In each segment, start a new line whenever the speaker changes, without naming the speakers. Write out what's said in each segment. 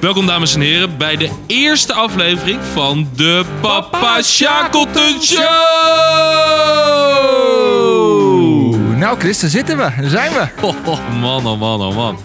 Welkom dames en heren bij de eerste aflevering van de Papa Shackleton Show!
Nou, Chris, daar zitten we. Daar zijn we.
Oh, oh, man, oh man, oh man.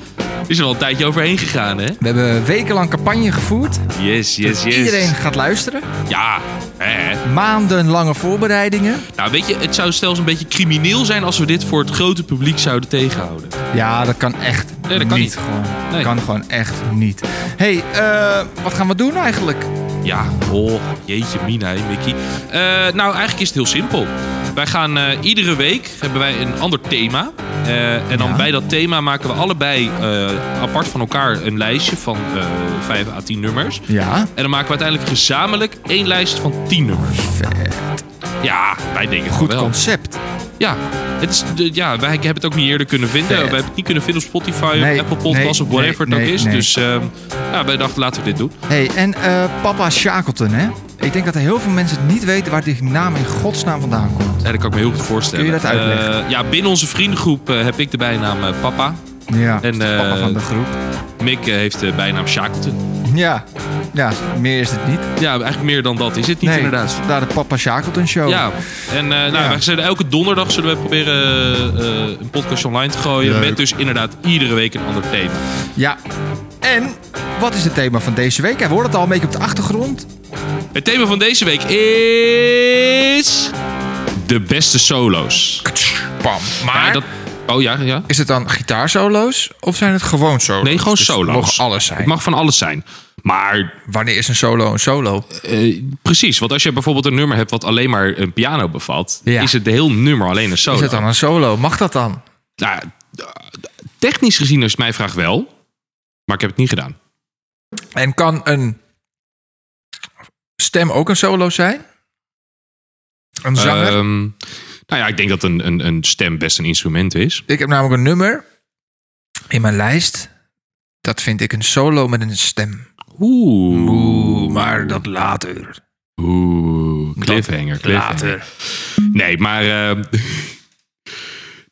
Is er al een tijdje overheen gegaan, hè?
We hebben wekenlang campagne gevoerd.
Yes, yes, yes.
Iedereen gaat luisteren.
Ja, hè.
Maandenlange voorbereidingen.
Nou, weet je, het zou zelfs een beetje crimineel zijn als we dit voor het grote publiek zouden tegenhouden.
Ja, dat kan echt
Nee, dat kan niet.
Gewoon.
Nee.
Kan gewoon echt niet. hey, eh, wat gaan we doen eigenlijk?
Ja, oh, jeetje mina, hè, Mickey. Eh, nou, eigenlijk is het heel simpel. Wij gaan eh, iedere week hebben wij een ander thema. Eh, en dan
Ja.
bij dat thema maken we allebei eh, apart van elkaar een lijstje van eh 5 à 10 nummers.
Ja.
En dan maken we uiteindelijk gezamenlijk één lijst van 10 nummers. Ja, wij denken
Goed
van wel.
concept.
Ja, het is, de- ja, wij hebben het ook niet eerder kunnen vinden.
Vet.
We hebben het niet kunnen vinden op Spotify,
Nee,
op Apple Podcasts
nee,
of whatever het
nee,
ook
nee,
is.
nee.
Dus ehm, ja, wij dachten laten we dit doen.
hey, en eh, papa Shackleton, hè? Ik denk dat er heel veel mensen niet weten waar die naam in godsnaam vandaan komt.
Ja, dat kan ik me heel goed voorstellen.
Kun je dat uitleggen?
Eh, ja, binnen onze vriendengroep eh, heb ik de bijnaam eh, Papa.
Ja,
En, eh,
papa van de groep.
Mick eh, heeft de bijnaam Shackleton.
Ja. ja, meer is het niet.
Ja, eigenlijk meer dan dat is het niet
nee,
inderdaad.
Daar de Papa Shackleton Show.
Ja, en eh, nou,
Ja.
wij zullen elke donderdag zullen we proberen eh, eh, een podcast online te gooien.
Leuk.
Met dus inderdaad iedere week een ander thema.
Ja. En wat is het thema van deze week? Hij hoort het al een beetje op de achtergrond.
Het thema van deze week is... De beste solo's.
Pam. Maar
Ja, dat- Oh ja, ja.
is het dan gitaarsolo's of zijn het gewoon solo's?
Nee, gewoon
Dus het
solo's.
mogen alles zijn.
Het mag van alles zijn. Maar
Wanneer is een solo een solo?
Eh, precies, want als je bijvoorbeeld een nummer hebt wat alleen maar een piano bevat,
Ja.
is het de heel nummer alleen een solo.
Is het dan een solo? Mag dat dan?
Nou, eh, technisch gezien is het mijn vraag wel, maar ik heb het niet gedaan.
En kan een stem ook een solo zijn? Een zanger?
Ehm, nou ja, ik denk dat een, een, een stem best een instrument is.
Ik heb namelijk een nummer in mijn lijst. Dat vind ik een solo met een stem.
Oeh.
Oeh, maar dat later.
Oeh, cliffhanger, cliffhanger.
Later.
Nee, maar... eh,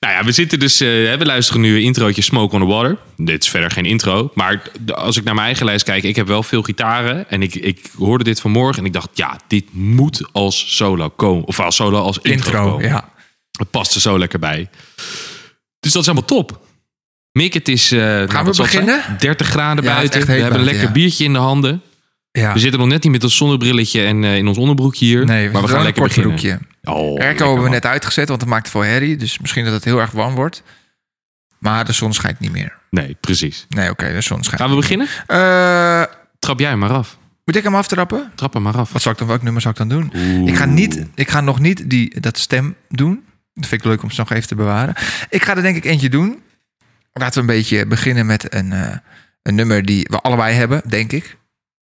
nou ja, we zitten dus... eh, we luisteren nu een introotje Smoke on the Water. Dit is verder geen intro. Maar d- als ik naar mijn eigen lijst kijk... Ik heb wel veel gitaren. En ik, ik hoorde dit vanmorgen. En ik dacht, ja, dit moet als solo komen. Of als solo, als intro,
Intro,
komen.
ja.
Het past er zo lekker bij. Dus dat is allemaal top. Mick, het is... eh, nou,
we
wat zal het zijn?
beginnen?
30 graden
Ja, het is
buiten.
echt
We
heet
hebben een lekker
buiten,
biertje in de handen.
ja.
We zitten nog net niet met ons zonnebrilletje en eh, in ons onderbroekje hier.
Nee, we
maar we gaan lekker
een kort
beginnen.
broekje.
Oh,
Airco
lekker
hebben we
man.
net uitgezet, want het maakt veel herrie. Dus misschien dat het heel erg warm wordt. Maar de zon schijnt niet meer.
Nee, precies.
Nee, oké, de zon schijnt.
Gaan we beginnen?
Eh,
Trap jij hem maar af.
moet ik hem aftrappen?
Trap hem maar af.
Wat zou ik dan, welk nummer zou ik dan doen?
Oeh.
Ik, ga niet, ik ga nog niet die, dat stem doen. Dat vind ik leuk om ze nog even te bewaren. Ik ga er denk ik eentje doen. Laten we een beetje beginnen met een, eh, een nummer die we allebei hebben, denk ik.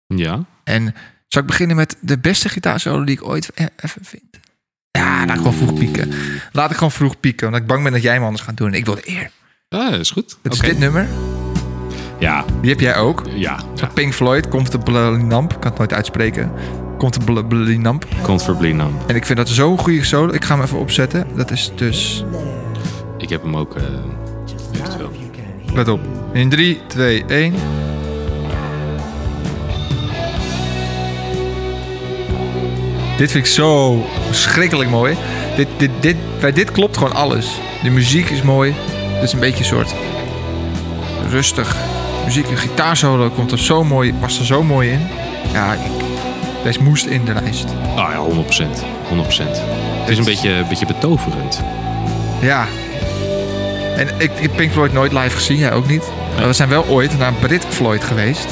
Ja.
En zou ik beginnen met de beste gitaarsolo die ik ooit e- even vind? Ja, laat ik gewoon vroeg pieken. Laat ik gewoon vroeg pieken, omdat ik bang ben dat jij hem anders gaat doen. Ik wil de eer.
Ah, is goed.
Het
Oké.
is dit nummer.
Ja,
Die heb jij ook.
ja. ja.
Pink Floyd, Comfortably Numb. Ik kan het nooit uitspreken. Comfortably Numb.
Comfortably numb.
En ik vind dat zo'n goede solo. Ik ga hem even opzetten. Dat is dus...
Ik heb hem ook... eh, eventueel.
Let op. In 3, 2, 1. Dit vind ik zo verschrikkelijk mooi. Dit, dit, dit, bij dit klopt gewoon alles. De muziek is mooi. Het is een beetje een soort rustig muziek. Een gitaarsolo komt er zo mooi, past er zo mooi in. Ja, ik, deze moest in de lijst.
Ah ja, 100%. 100%. Het is een beetje, een beetje betoverend.
Ja. En ik, ik heb Pink Floyd nooit live gezien, jij ook niet. Maar we zijn wel ooit naar Brit Floyd geweest.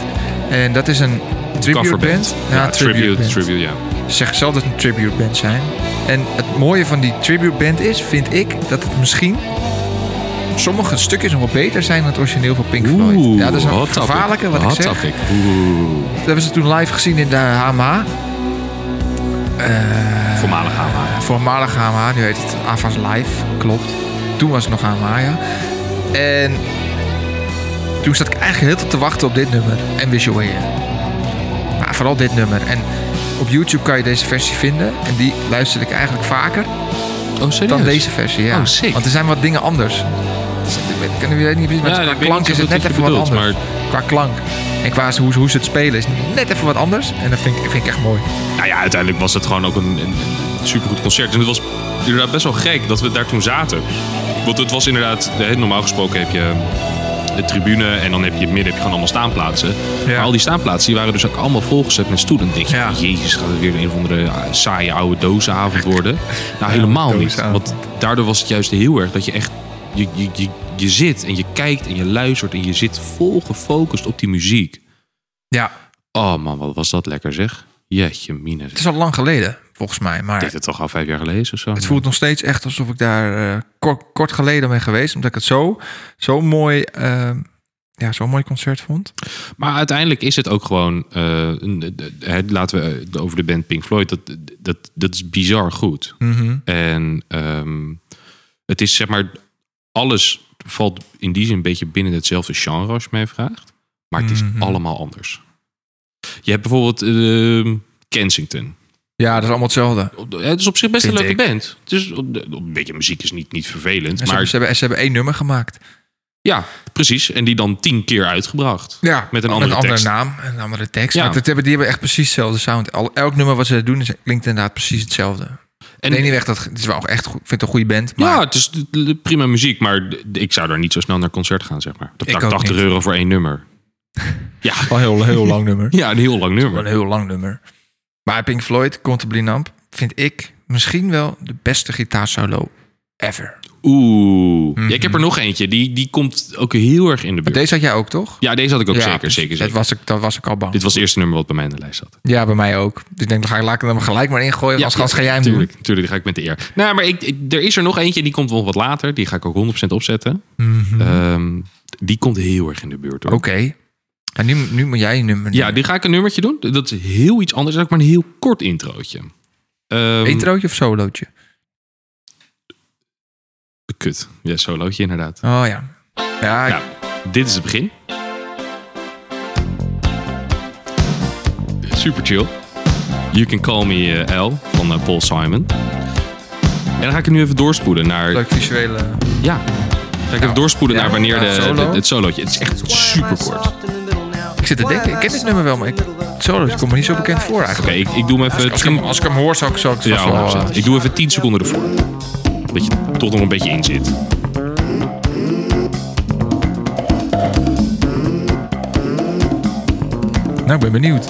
En dat is een tribute band.
Coverband. Ja, tribute, tribute,
band.
ja.
Zeg zelf dat het een tribute band zijn. En het mooie van die tribute band is, vind ik, dat het misschien sommige stukjes nog wel beter zijn dan het origineel van Pink Floyd. ja, dat is een
hot topic.
gevaarlijke wat
hot
ik zeg.
topic. Oeh.
Dat hebben ze toen live gezien in de HMA. Eh,
Voormalig hama.
voormalig HMA, nu heet het Avas Live, klopt. Toen was het nog HMA, ja. En toen zat ik eigenlijk heel tijd te wachten op dit nummer en Visual Air. Maar vooral dit nummer. En op YouTube kan je deze versie vinden. En die luister ik eigenlijk vaker
Oh, serieus?
dan deze versie, ja.
Oh, sick.
Want er zijn wat dingen anders. Dus ik weet- ik weet niet precies, maar
Ja,
qua
ik weet
klank
niet
is
zo
het
goed
net
wat
even
je
wat
bedoelt,
anders. Qua klank. En En qua hoe, ze- hoe ze het spelen is net even wat anders. En dat vind ik, vind ik echt mooi.
Nou ja, uiteindelijk was het gewoon ook een, een supergoed concert. En het was inderdaad best wel gek dat we daar toen zaten. Want het was inderdaad, hè, normaal gesproken heb je ehm, de tribune en dan heb je midden heb je gewoon allemaal staanplaatsen.
Ja.
Maar al die staanplaatsen die waren dus ook allemaal volgezet met stoelen. Dan denk je, oh,
Ja.
jezus, gaat het weer een of andere ah, saaie oude dozenavond worden? Nou, helemaal niet.
dozenavond.
Want daardoor was het juist heel erg dat je echt, je, je, je, je zit en je kijkt en je luistert en je zit vol gefocust op die muziek.
Ja,
Oh man, wat was dat lekker zeg. Jeetje mina. zeg.
het is al lang geleden, volgens mij. Maar
Ik denk dat toch al vijf jaar geleden of zo.
Het voelt nog steeds echt alsof ik daar eh, kort, kort geleden ben geweest. Omdat ik het zo, zo mooi. eh, ja, zo'n mooi concert vond.
Maar uiteindelijk is het ook gewoon. eh, een- de- de- het- laten we eh, over de band Pink Floyd. Dat, dat, dat is bizar goed.
Mhm.
En ehm, het is zeg maar. Alles valt in die zin een beetje binnen hetzelfde genre als je mij vraagt. Maar het is
Mhm.
allemaal anders. Je hebt bijvoorbeeld ehm, Kensington.
Ja, dat is allemaal hetzelfde.
Het is op zich best een
Vind
leuke band. Het is, een beetje muziek is niet, niet vervelend.
En ze,
Maar
hebben, ze, hebben, ze hebben één nummer gemaakt.
ja, precies. En die dan tien keer uitgebracht.
Ja,
Met een andere tekst.
naam, een andere tekst.
Ja.
Maar dat hebben, die hebben echt precies hetzelfde sound. Al, elk nummer wat ze doen is, klinkt inderdaad precies hetzelfde. En,
En-
nee, niet weg, dat het is wel ook echt goed. Ik vind het een goede band. Maar
Ja, het is d- d- prima muziek, maar d- ik zou daar niet zo snel naar concert gaan, zeg maar. Dat
Ik
ik
ook
80
niet.
euro voor één nummer. Ja,
wel een heel, heel lang nummer.
ja, een heel lang
Wel een
nummer.
heel lang nummer. Maar Pink Floyd, Contemporary Namp, vind ik misschien wel de beste gitaarsolo ever.
Oeh.
Mhm.
Ja, ik heb er nog eentje, die, die komt ook heel erg in de
Maar
buurt.
deze had jij ook, toch?
Ja, deze had ik ook
Ja,
zeker,
precies.
zeker, zeker.
Dat was ik, dat was ik al bang.
Dit was het eerste nummer wat bij mij in de lijst zat.
Ja, bij mij ook. Dus ik denk, dan ga ik, laat ik hem er gelijk maar ingooien. als gast ga jij hem
natuurlijk, Natuurlijk, dan ga ik met de eer. Nou, maar ik, ik- er is er nog eentje, die komt wel wat later. Die ga ik ook 100% opzetten.
doen. Mhm.
Ehm, die komt heel erg in de buurt, hoor.
Oké. En nu, nu moet jij je nummer
Ja, die ga ik een nummertje doen. Dat is heel iets anders. Dat is ook maar een heel kort introotje. Ehm,
Introotje of solootje?
Kut. Ja, solootje inderdaad.
Oh ja. Ja,
Ja, dit is het begin. Super chill. You Can Call Me eh, L van eh, Paul Simon. En dan ga ik het nu even doorspoelen naar...
leuk visuele...
Ja. Ga ik even doorspoelen
Ja,
naar wanneer
ja,
de,
solo.
de- het solootje... Het is echt super kort. Oké,
Ik zit te denken, ik ken dit nummer wel, maar ik, het solootje komt me niet zo bekend voor eigenlijk.
ik, ik doe hem even...
Als, ik hem,
tien-
als ik hem hoor, zou ik, zou ik het vast wel...
Ja, 100%.
eh,
Ik doe even 10 seconden ervoor. Dat je er toch nog een beetje in zit.
nou, ik ben benieuwd.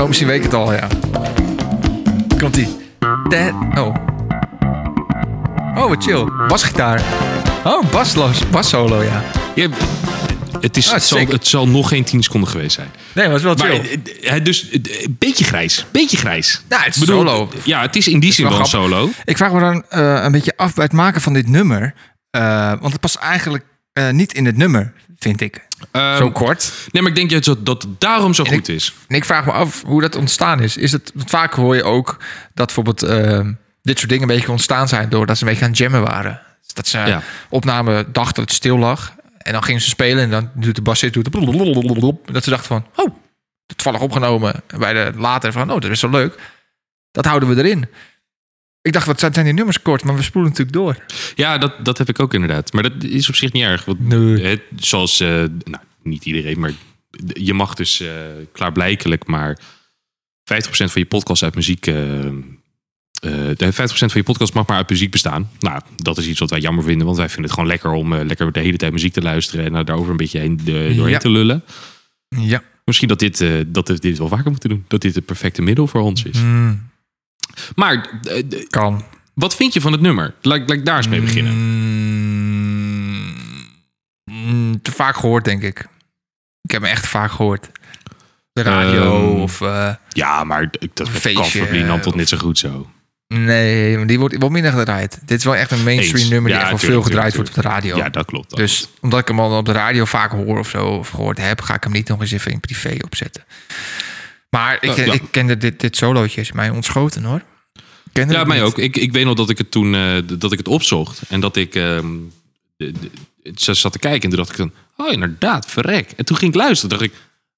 Oh, misschien weet ik het al, ja. Komt-ie. Ted- Oh. Oh, wat chill. Basgitaar. Oh, baslos, bassolo, ja.
Je, het, is,
Ah,
het, zal,
sick.
het zal nog geen 10 seconden geweest zijn.
Nee, maar het is wel
Maar
chill.
eh, eh, dus eh, een beetje grijs. Beetje grijs.
Nou, het is
Bedoel,
solo.
Ja, het is in die zin
wel
wel een solo.
Ik vraag me dan eh, een beetje af bij het maken van dit nummer. Eh, want het past eigenlijk eh, niet in het nummer, vind ik.
Ehm,
Zo kort.
nee, maar ik denk juist dat, dat het daarom zo goed is.
En ik vraag me af hoe dat ontstaan is. is het, want vaak hoor je ook dat bijvoorbeeld eh, dit soort dingen een beetje ontstaan zijn... doordat ze een beetje aan het jammen waren. Dus Dat ze
Ja.
opname dachten dat het stil lag. En dan gingen ze spelen en dan doet de bassist... Doet de en dat ze dachten van, oh, toevallig opgenomen. En bij de later van, oh, dat is wel leuk. Dat houden we erin. Ik dacht, wat zijn zijn die nummers kort? Maar we spoelen natuurlijk door.
Ja, dat, dat heb ik ook inderdaad. Maar dat is op zich niet erg. Want
Nee.
het, zoals, eh, nou, niet iedereen, maar d- je mag dus eh, klaarblijkelijk maar 50% van je podcast uit muziek... eh, eh, de 50% van je podcast mag maar uit muziek bestaan. Nou, dat is iets wat wij jammer vinden. Want wij vinden het gewoon lekker om eh, lekker de hele tijd muziek te luisteren. En eh, daarover een beetje heen, de- doorheen
Ja.
te lullen.
Ja.
Misschien dat, dit, eh, dat we dit wel vaker moeten doen. Dat dit het perfecte middel voor ons
Mhm.
is. Maar eh, d-
kan.
wat vind je van het nummer? Laat, laat ik daar eens
Mhm.
mee beginnen.
Mm. te vaak gehoord, denk ik. Ik heb hem echt vaak gehoord. De radio
Ehm.
of... eh,
Ja, maar d- dat
Feestje,
kan voor Blinam tot
eh,
net zo goed zo.
nee, maar die wordt wel minder gedraaid. Dit is wel echt een mainstream
Eens.
nummer die
Ja,
echt wel
tuurlijk,
veel gedraaid
tuurlijk,
wordt op de radio.
Ja, dat klopt. dan.
dus omdat ik hem al op de radio vaak hoor of zo, of gehoord heb, ga ik hem niet nog eens even in privé opzetten. Maar ik,
Ja, Eh, ja.
ik kende dit, dit solootje, is mij ontschoten hoor. Ik kende
ja,
het
mij
eh, niet.
ook. Ik, ik weet nog dat ik het toen eh, d- dat ik het opzocht. En dat ik ehm, de- de- ze zat te kijken. En toen dacht ik dan, oh inderdaad, verrek. En toen ging ik luisteren. dacht ik,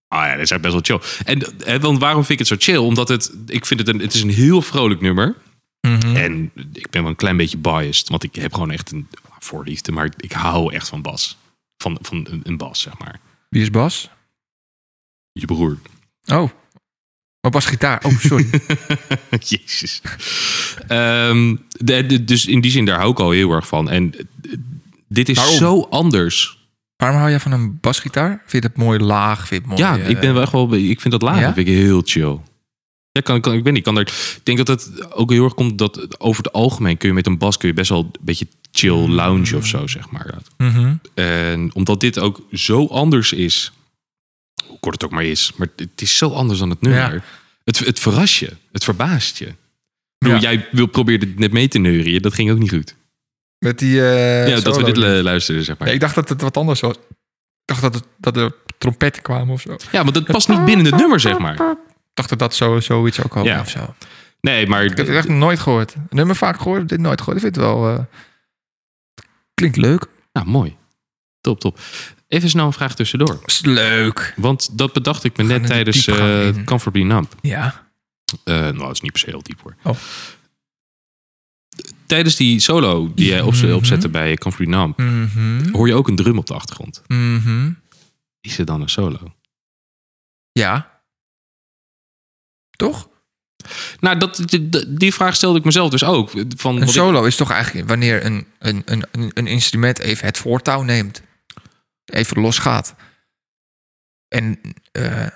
ah ja, dat is echt best wel chill. En eh, want waarom vind ik het zo chill? Omdat het, ik vind het een, het is een heel vrolijk nummer.
Mhm.
En ik ben wel een klein beetje biased, want ik heb gewoon echt een voorliefde, maar ik hou echt van bas. Van, van een, een bas, zeg maar.
Wie is Bas?
Je broer.
Oh. Maar pas gitaar. Oh, sorry.
Jezus. Ehm, de- de- dus in die zin, daar hou ik al heel erg van. En eh, dit is
Waarom?
zo anders.
Waarom hou jij van een basgitaar? Vind je dat mooi laag? Vind je het
Ja,
mooi, eh,
ik ben wel echt wel. Ik vind dat laag.
Ja?
vind ik heel chill. Ja, kan, kan, ik ben niet. Kan er, ik denk dat het ook heel erg komt dat over het algemeen kun je met een bas kun je best wel een beetje chill lounge of zo, zeg maar.
mhm.
En omdat dit ook zo anders is, hoe kort het ook maar is, maar het is zo anders dan het nummer.
Ja.
Het, het verrast je, het verbaast je. Ik bedoel,
Ja.
Jij wil probeerde het net mee te neurien, dat ging ook niet goed.
Met die. eh,
ja, dat we
solo.
dit eh, luisterden, zeg maar.
Nee, ik dacht dat het wat anders was. Ik dacht dat, het, dat er trompetten kwamen of zo. Ik
Ja, want dat past niet binnen het nummer, zeg maar.
dacht dat dat zo, zoiets ook had
Ja.
of zo.
Nee, maar
Ik heb het echt nog nooit gehoord. Nummer vaak gehoord, dit nooit gehoord. Ik vind het wel... eh, Klinkt leuk.
Nou, mooi. Top, top. Even snel een vraag tussendoor.
Is leuk.
Want dat bedacht ik me net
gaan er
tijdens
diep gaan
eh
in.
Comfortably Numb.
Ja.
Eh, nou, dat is niet per se heel diep hoor.
Oh.
Tijdens die solo die jij opz-
Mhm.
opzette bij Comfortably Numb...
Mhm.
hoor je ook een drum op de achtergrond.
Mhm.
Is het dan een solo?
Ja. Toch?
Nou, dat, die- die- die vraag stelde ik mezelf dus ook. Van,
Een
wat ik-
solo is toch eigenlijk wanneer een, een, een, een, een instrument even het voortouw neemt. Even losgaat. En eh,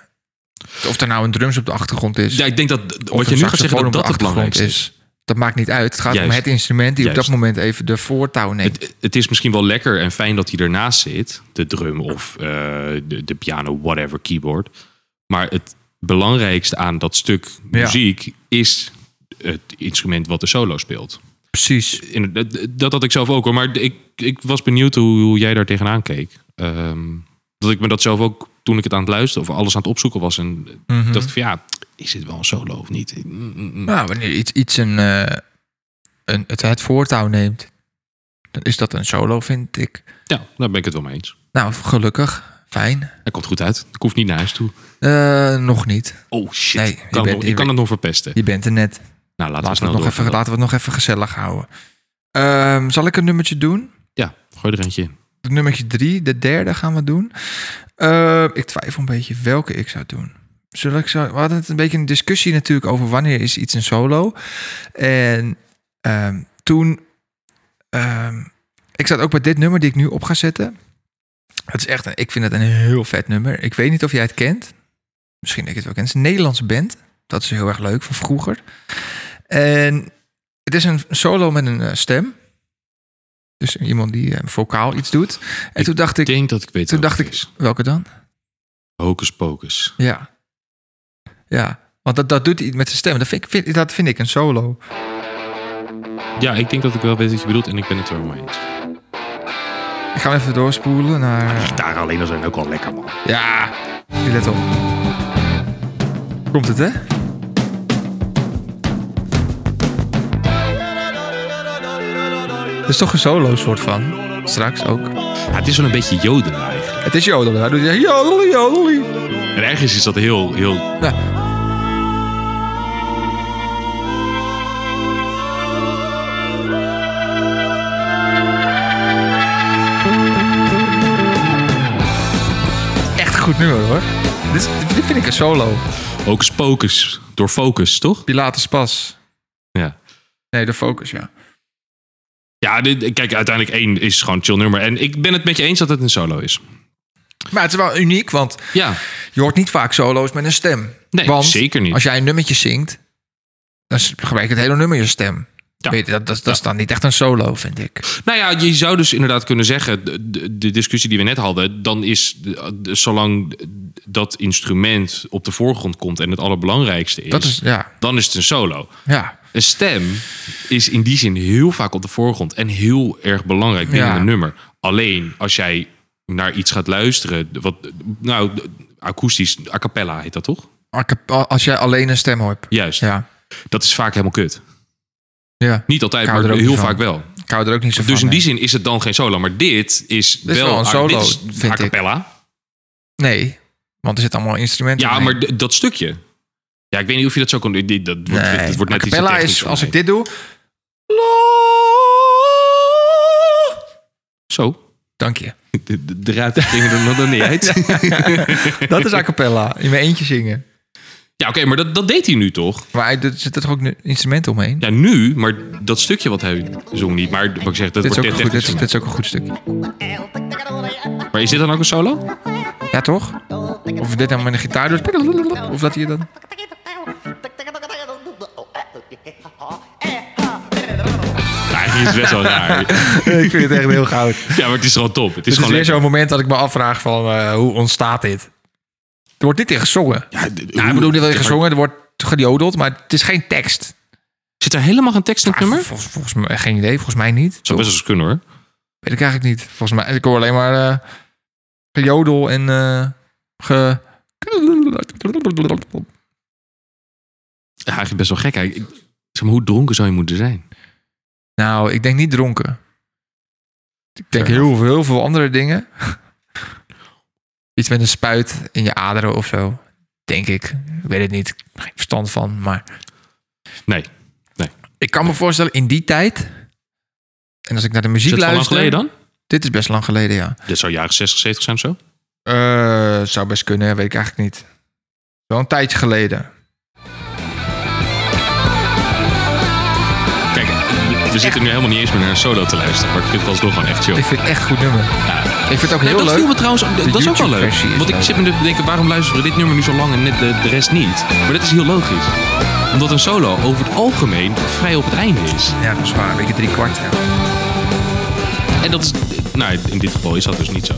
of er nou een drums op de achtergrond is.
ja, ik denk dat
of
wat je nu
een
gaat zeggen,
saxofoon
dat
op de
dat het
achtergrond
belangrijkste is.
Dat maakt niet uit. Het gaat om
Juist.
het instrument die op
Juist.
dat moment even de voortouw neemt.
Het, het is misschien wel lekker en fijn dat hij ernaast zit. De drum of eh, de, de piano, whatever, keyboard. Maar het belangrijkste aan dat stuk
Ja.
muziek is het instrument wat de solo speelt.
Precies.
In, dat, dat had ik zelf ook hoor. Maar ik, ik was benieuwd hoe, hoe jij daar tegenaan keek. Ehm, dat ik me dat zelf ook toen ik het aan het luisteren of alles aan het opzoeken was. En
Mhm.
dacht ik van ja, is dit wel een solo of niet? Mm, mm, mm.
Nou, wanneer iets, iets een, eh, een, het, het voortouw neemt, dan is dat een solo, vind ik.
Ja, daar ben ik het wel mee eens.
Nou, gelukkig. Fijn.
Dat komt goed uit. Ik hoef niet naar huis toe.
Eh, nog niet.
Oh shit.
Nee,
ik
je
kan, het
bent-
nog-
je
ik kan
bent-
het nog verpesten.
Je bent er net.
Nou, laten, we
Laten we,
snel
het nog
doorgaan
even,
dan.
laten we het nog even gezellig houden. Ehm, zal ik een nummertje doen?
Ja, gooi er eentje in.
De nummertje drie, de derde gaan we doen. Eh, ik twijfel een beetje welke ik zou doen. Zullen ik zo, we hadden het een beetje een discussie natuurlijk over wanneer is iets een solo. En ehm, toen... ehm, ik zat ook bij dit nummer die ik nu op ga zetten. Het is echt een, ik vind het een heel vet nummer. Ik weet niet of jij het kent. Misschien dat ik het wel ken. Het is een Nederlandse band. Dat is heel erg leuk van vroeger. En het is een solo met een eh, stem. Dus iemand die eh, vocaal iets doet. En
Ik
toen dacht
Ik
ik,
denk dat ik weet
toen
welke
dacht
het
ik,
is.
welke dan?
Hocus pocus.
Ja. Ja, want dat, dat doet hij met zijn stem. Dat vind, ik- vind, dat vind ik een solo.
Ja, ik denk dat ik wel weet wat je bedoelt en ik ben het er wel mee eens.
Ik ga hem even doorspoelen naar...
Daar alleen al zijn ook al lekker, man.
Ja, nu let op. Komt het, hè? Het is toch een solo soort van. Straks ook.
het is wel een beetje joden eigenlijk.
Het is jodelen. Hij doet ja, jodelen, jodelen.
En ergens is dat heel, heel...
Ja. Echt een goed nummer hoor. Dit, is- dit vind ik een solo.
Hocus pocus. Door focus, toch?
Pilatus Pas.
Ja.
Nee, de focus, ja.
Ja, dit, kijk, uiteindelijk één is gewoon een chill nummer. En ik ben het met je eens dat het een solo is.
Maar het is wel uniek, want
Ja,
je hoort niet vaak solo's met een stem.
nee,
Want
zeker niet.
Als jij een nummertje zingt, dan gebruik je het hele nummer je stem.
Ja.
Weet je, dat, dat, dat is dan niet echt een solo, vind ik.
Nou ja, je zou dus inderdaad kunnen zeggen, de- de, de discussie die we net hadden, dan is de- de- zolang dat instrument op de voorgrond komt en het allerbelangrijkste is,
Dat is, ja.
dan is het een solo.
ja.
Een stem is in die zin heel vaak op de voorgrond en heel erg belangrijk binnen
Ja.
een nummer. Alleen als jij naar iets gaat luisteren, wat, nou, akoestisch, a cappella heet dat toch?
A cap- Als jij alleen een stem hoort.
Juist,
Ja.
dat is vaak helemaal kut.
Ja.
Niet altijd,
Ik hou
maar
er ook
heel
niet van.
vaak wel.
Ik hou er ook niet zo van.
Dus in die
nee.
zin is het dan geen solo, maar dit is,
is wel een
a-
solo,
dit is
vind
a
ik.
cappella.
Nee, want er zitten allemaal instrumenten
Ja,
omheen.
maar d- dat stukje. Ja, ik weet niet of je dat zo kon. dit- dit- Dat wordt,
nee.
dit wordt net iets
A
te
cappella
technisch
is,
voor
als
mij.
ik dit doe...
Zo.
Dank je.
De, de, de ruiten gingen er nog dan niet uit.
Dat is a cappella. In mijn eentje zingen.
Ja, oké, maar dat, dat deed hij nu toch?
Maar hij- er zitten toch ook nu instrumenten omheen?
Ja, nu, maar dat stukje wat hij zong niet. Maar wat ik zeg, dat
dit, is ook
wordt
een goed, dit,
technisch.
is- dit is ook een goed stukje.
Maar is dit dan ook een solo?
Ja, toch? Of dit dan met een gitaar doet. Of dat hier dan...
Ja, eigenlijk is het best wel raar.
Ik vind het echt heel goud. Het
Ja, maar het is gewoon top. Het is
is,
gewoon
weer
lekker.
zo'n moment dat ik me afvraag van eh, hoe ontstaat dit? Er wordt niet in gezongen.
Ja, d-
Nou, ik
hoe-
bedoel, er wordt
zeg maar,
gezongen, er wordt gejodeld, maar het is geen tekst.
Zit er helemaal geen tekst in het nummer?
Volgens, volgens mij, eh, geen idee, volgens mij niet.
Zou best wel eens kunnen hoor.
Weet ik eigenlijk niet. Volgens mij, ik hoor alleen maar eh, gejodel en eh, ge...
Ja, eigenlijk best wel gek. Hij- ik- Zeg maar, hoe dronken zou je moeten zijn?
Nou, ik denk niet dronken. Ik denk
Fair
heel veel, heel veel andere dingen. Iets met een spuit in je aderen of zo. Denk ik. Ik weet het niet. Geen verstand van, maar...
Nee. Nee.
Ik kan me voorstellen, in die tijd... En als ik naar de muziek
Is het al
luister...
lang geleden dan?
Dit is best lang geleden, ja.
Dit zou jaren 60, 70 zijn of zo.
Eh, zou best kunnen, weet ik eigenlijk niet. Wel een tijdje geleden.
Kijk, we zitten nu helemaal niet eens meer naar een solo te luisteren. Maar ik vind het alsnog gewoon echt chill.
Ik vind het echt een goed nummer. Ik vind het ook
Nee,
heel
dat viel
leuk.
me trouwens, ook- dat is ook wel leuk.
YouTube-versie is
Want ik
leuk.
zit me te denken, waarom luisteren we dit nummer nu zo lang en net de, de rest niet? Maar dat is heel logisch. Omdat een solo over het algemeen vrij op het einde is.
Ja, dat is waar. Een beetje drie kwart. Ja.
En dat is, nou in dit geval is dat dus niet zo.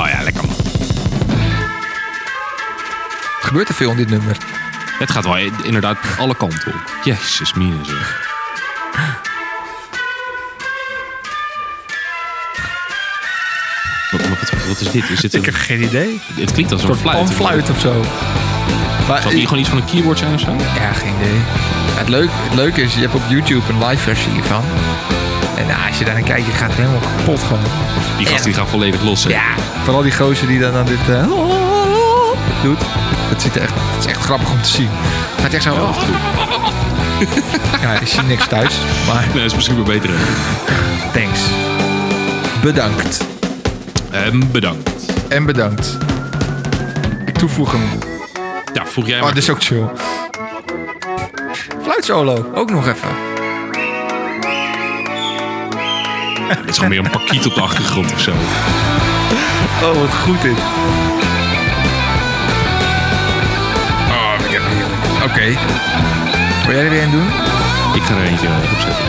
Oh ja, lekker man.
Er gebeurt er veel in dit nummer.
Het gaat wel inderdaad alle kanten op. Jezus, mina zeg. Wat, wat, wat is dit? Is dit een,
geen idee.
het klinkt als een
Een soort
fluit.
panfluit of zo. Maar,
Zal het hier gewoon iets van een keyboard zijn of zo?
ja, geen idee. Het, leuk, het leuke is, je hebt op YouTube een live versie hiervan. En nou, als je daar naar kijkt, je gaat helemaal kapot gewoon.
Die gasten die gaan volledig los. hè?
Ja. Vooral die gozer die dan aan dit eh, doet. Dat, ziet er echt, dat is echt grappig om te zien. Het gaat echt zo... oh. Ja, ik zie niks thuis, maar
Nee, dat is misschien wel beter. hè?
thanks. Bedankt.
Ehm, bedankt.
En bedankt. Ik toevoeg hem.
Ja, vroeg jij
Oh,
maar.
dit is ook chill. Fluitsolo, ook nog even.
Het is gewoon meer een pakiet op de achtergrond of zo.
Oh, wat goed dit. Oh, ik heb Oké. Wil jij er weer een doen?
Ik ga er eentje eh, opzetten.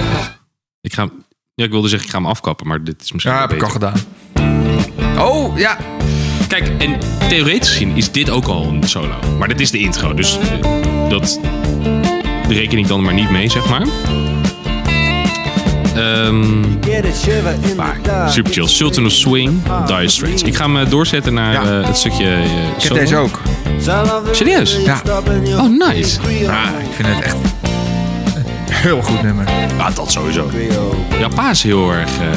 Ik ga hem- ja, ik wilde zeggen, ik ga hem afkappen, maar dit is misschien
Ja,
wel
heb ik al
beter.
gedaan. Oh, ja.
Kijk, en theoretisch gezien is dit ook al een solo. Maar dit is de intro, dus eh, dat reken ik dan maar niet mee, zeg maar. Ehm,
Maar,
super chill. Sultan of Swing, Dire Straits. Ik ga hem eh, doorzetten naar
Ja.
eh, het stukje eh,
Ik heb
solo.
deze ook.
Serieus?
Ja.
Oh, nice.
Ah, ik vind het echt een heel goed nummer.
Ah, dat sowieso. Ja, pa is heel erg eh,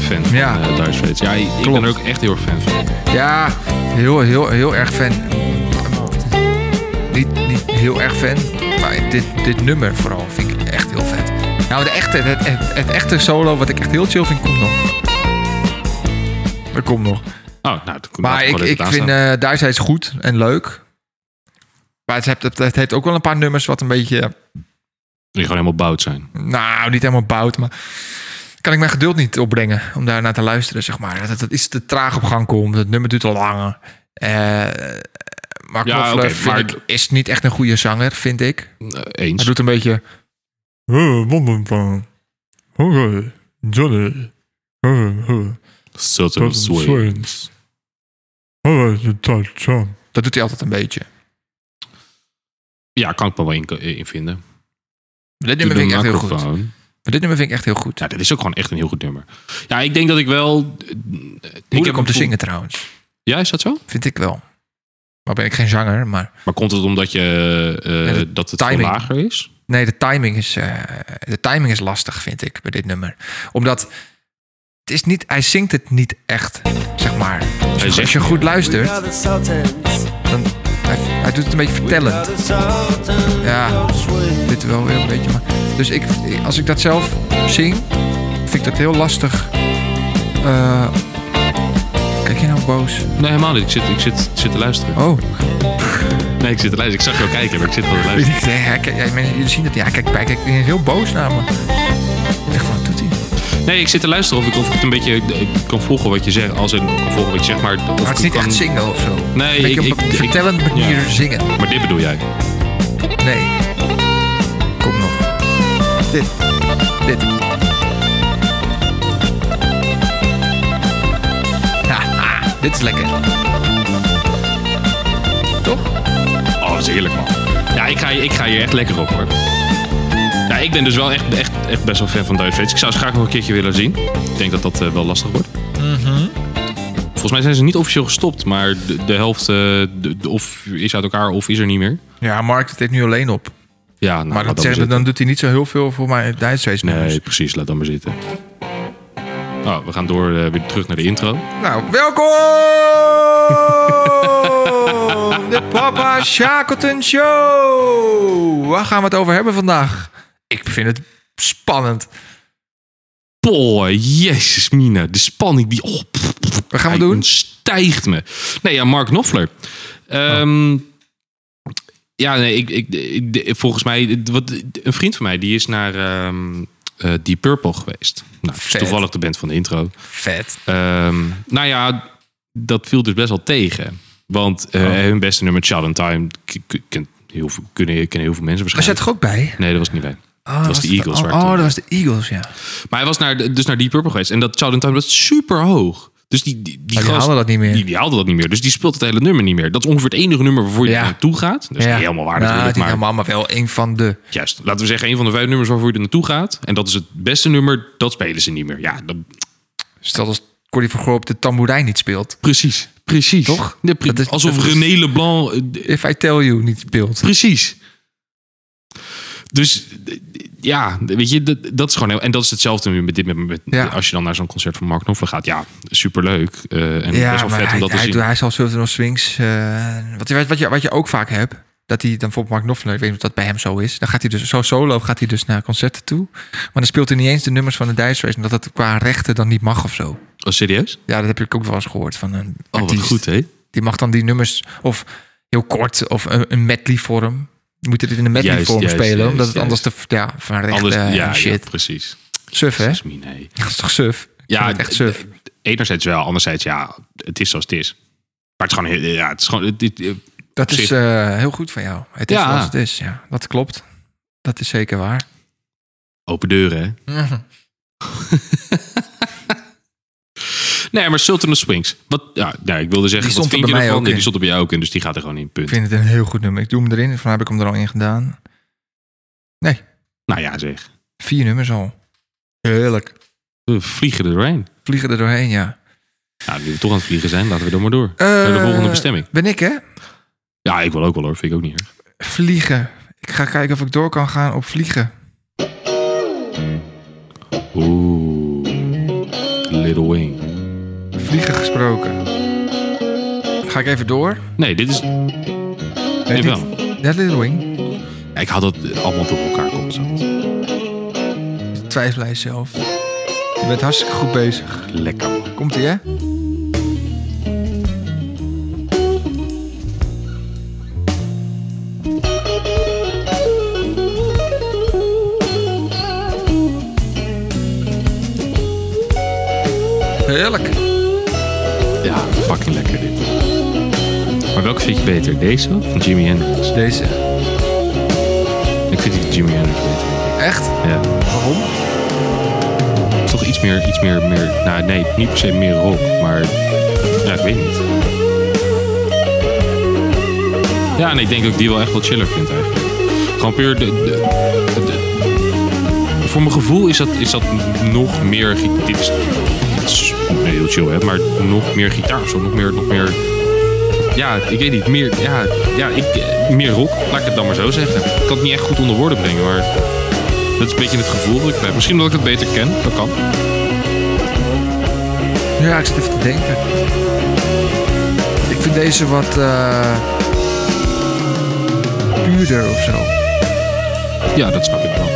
fan van
Ja.
ja. Dire Straits. Ja, ik
Klopt.
ben er ook echt heel erg fan van. Oh,
Ja, heel, heel, heel erg fan. Niet, niet heel erg fan, maar dit, dit nummer vooral vind ik echt heel vet. Nou, de echte, het, het, het echte solo wat ik echt heel chill vind, komt nog. Er komt nog.
Oh, nou, dat komt
Maar ik, ik vind eh Duitsheid goed en leuk. Maar het heeft, het, het heeft ook wel een paar nummers wat een beetje...
Die gewoon helemaal bout zijn.
Nou, niet helemaal bout, maar... Kan ik mijn geduld niet opbrengen om daarnaar te luisteren, zeg maar. Dat het dat iets te traag op gang komt. Het nummer duurt te lang. Eh, maar
Ja,
Knopfler
oké,
vind
maar-
ik, is niet echt een goede zanger, vind ik.
Eh,
Hij
eens.
doet een beetje...
Sultan of Swing.
Dat doet hij altijd een beetje.
Ja, kan ik me wel in, eh, in vinden.
Dit nummer
To
vind ik
the
echt heel goed. Maar
microphone.
dit nummer vind ik echt heel goed.
Ja, dit is ook gewoon echt een heel goed nummer. Ja, ik denk dat ik wel... eh,
Moeilijk
heb
om te
gevoel-
zingen trouwens.
Ja, is dat zo?
Vind ik wel. Maar ben ik geen zanger, maar...
Maar komt het omdat je, eh,
Ja, de
dat het veel
timing.
lager is?
Nee, de timing is, eh, de timing is lastig, vind ik, bij dit nummer. Omdat het is niet, hij zingt het niet echt, zeg maar. Als je,
zingt
als je goed luistert,
Vertellend.
dan, hij, hij doet het een beetje vertellend.
Ja.
Dit wel weer een beetje, maar... Dus ik, ik- als ik dat zelf zing, vind ik dat heel lastig eh, Kijk je nou boos?
Nee, helemaal niet. Ik zit, ik zit, ik zit te luisteren.
Oh.
Oh, Nee, ik zit te luisteren. Ik zag jou kijken, maar ik zit gewoon te
Ik
luisteren.
denk, ja, kijk, ja, mensen, jullie zien dat. Ja, kijk, kijk, kijk, hij is heel boos naar me. Ik dacht, wat doet hij?
Nee, ik zit te luisteren of ik, of ik het een beetje ik kan volgen wat je zegt. Als ik kan volgen wat je zegt, maar... Of
Maar het is
ik
niet
kan-
echt zingen of zo.
Nee,
Een beetje
ik-
op een
ik- ik-
vertellende manier
ja.
zingen.
Maar dit bedoel jij.
Nee. Kom nog. Dit. Dit. Haha, dit is lekker. Toch?
Oh, dat is heerlijk, man. Ja, ik ga, ik ga hier echt lekker op, hoor. Ja, ik ben dus wel echt, echt, echt best wel fan van Dire Straits. Ik zou ze graag nog een keertje willen zien. Ik denk dat dat eh, wel lastig wordt. Volgens mij zijn ze niet officieel gestopt, maar de, de helft eh, de- de- of is uit elkaar of is er niet meer.
Ja, Mark dat heeft nu alleen op.
Ja, nou,
Maar
laat
dat
dan
zeggen,
maar
dan doet hij niet zo heel veel voor mij Duitsers
zitten.
nummers.
Nee, precies, laat dan maar zitten. Oh, we gaan door eh, weer terug naar de intro.
Nou, welkom! De Papa Shackleton Show! Waar gaan we het over hebben vandaag? Ik vind het spannend.
Boy, jezus mina. De spanning die... Oh, pff, pff,
Wat gaan we
hij
doen?
Stijgt me. Nee, ja, Mark Knopfler. Ehm, Ja, nee, ik, ik, ik- volgens mij... Wat, een vriend van mij, die is naar ehm eh, Deep Purple geweest. Nou, dat is
Vet.
toevallig de band van de intro.
Vet.
Ehm, nou ja, dat viel dus best wel tegen. Want
Oh.
eh, hun beste nummer, Child in Time... k- k- kent heel veel, kunnen, kennen heel veel mensen
Was jij
waarschijnlijk.
er ook bij?
Nee, dat was ik niet bij.
Oh,
dat was de Eagles.
Oh,
waar ik toen-
oh, dat was de Eagles, ja.
maar hij was naar, dus naar Deep Purple geweest. En dat Child in Time was super hoog. Dus die, die, die,
Maar die
gast-
haalde dat niet meer.
Die, die haalde dat niet meer. Dus die speelt het hele nummer niet meer. Dat is ongeveer het enige nummer waarvoor je
Ja.
er naartoe gaat. Dat is niet helemaal waar
Nou,
natuurlijk.
niet
Maar
helemaal, maar wel een van de...
juist, laten we zeggen, een van de vijf nummers waarvoor je er naartoe gaat. En dat is het beste nummer, dat spelen ze niet meer. Ja, dat,
Stel als dus Cordy van Gorp de tamboerijn niet speelt.
precies. Precies.
Toch?
Ja, pre-
Dat is-
alsof
dat is-
René Leblanc... eh, d-
If I Tell You niet speelt.
Precies. Dus eh, ja, weet je, dat, dat is gewoon heel. En dat is hetzelfde nu met dit. Met, met-
Ja.
Als je dan naar zo'n concert van Mark Knopfler gaat, ja, superleuk. eh en best wel vet
hij,
om dat te
hij,
zien.
doet- hij zal zullen nog swings. eh, wat, je- wat, je, wat je ook vaak hebt, dat hij dan bijvoorbeeld Mark Knopfler, ik weet niet of dat bij hem zo is, dan gaat hij dus zo solo gaat hij dus naar concerten toe. Maar dan speelt hij niet eens de nummers van de Dice Race, omdat dat qua rechten dan niet mag of zo.
Oh, serieus?
Ja, dat heb ik ook wel eens gehoord van een
Oh, wat
artiest.
goed, hè?
Die mag dan die nummers of heel kort of een, een medley vorm. Die moeten dit in een medley
Juist,
vorm
juist,
spelen,
juist,
omdat het
juist.
anders te ja, van rechten
Anders,
en
ja, ja,
eh, shit.
precies.
Suf hè?
Dat is me, nee.
Dat is toch suf? Ja,
Ja,
echt
d-
suf.
d- enerzijds wel, anderzijds ja, het is zoals het is. Maar het is gewoon, heel- ja, het is gewoon, het, het- eh,
Dat
Op
is
zich.
eh, heel goed van jou. Het is
Ja.
zoals het is, ja. Dat klopt. Dat is zeker waar.
open deuren, hè? Nee, maar Sultan of Swings. Wat, ja, nou, ik wilde zeggen,
Die
wat
stond
vind
er bij
je
mij
ervan?
ook
Nee,
in.
die stond er bij jou ook in, dus die gaat er gewoon in,
Ik
punt.
vind het een heel goed nummer. Ik doe hem erin. Van heb ik hem er al in gedaan. Nee,
Nou ja, zeg.
vier nummers al. Heerlijk.
We vliegen er doorheen.
Vliegen er doorheen, ja.
Nou, nu we toch aan het vliegen zijn, laten we dan maar door.
Eh,
Naar de volgende bestemming.
Ben ik, hè?
Ja, ik wil ook wel hoor, vind ik ook niet erg.
Vliegen. Ik ga kijken of ik door kan gaan op vliegen.
Oeh, Little Wing.
Vliegen gesproken. Ga ik even door?
Nee, dit is... Nee,
dit-
wel.
That Little Wing.
Ik had dat het allemaal door elkaar constant.
Twijfel aan jezelf. Je bent hartstikke goed bezig.
Lekker. man.
Komt ie, hè? Heerlijk.
Ja, fucking lekker dit. Maar welke vind je beter? Deze of van Jimi Hendrix?
Deze.
Ik vind die van Jimi Hendrix beter.
Echt?
Ja.
Waarom?
Het is toch iets meer, iets meer, meer... Nou, nee, niet per se meer rock, maar... Ja, ik weet niet. Ja, en ik denk dat ik die wel echt wel chiller vind eigenlijk. Gewoon puur de... de, de- voor mijn gevoel is dat, is dat nog meer... gi- Dit is, dit is nee, heel chill, hè. Maar nog meer gitaar of zo. Nog meer... Nog meer ja, ik weet niet. Meer, ja, ja, ik, eh, meer rock, laat ik het dan maar zo zeggen. Ik kan het niet echt goed onder woorden brengen, maar... Dat is een beetje het gevoel dat ik heb. Misschien dat ik het beter ken. Dat kan.
Ja, ik zit even te denken. Ik vind deze wat eh puurder of zo.
Ja, dat snap ik wel.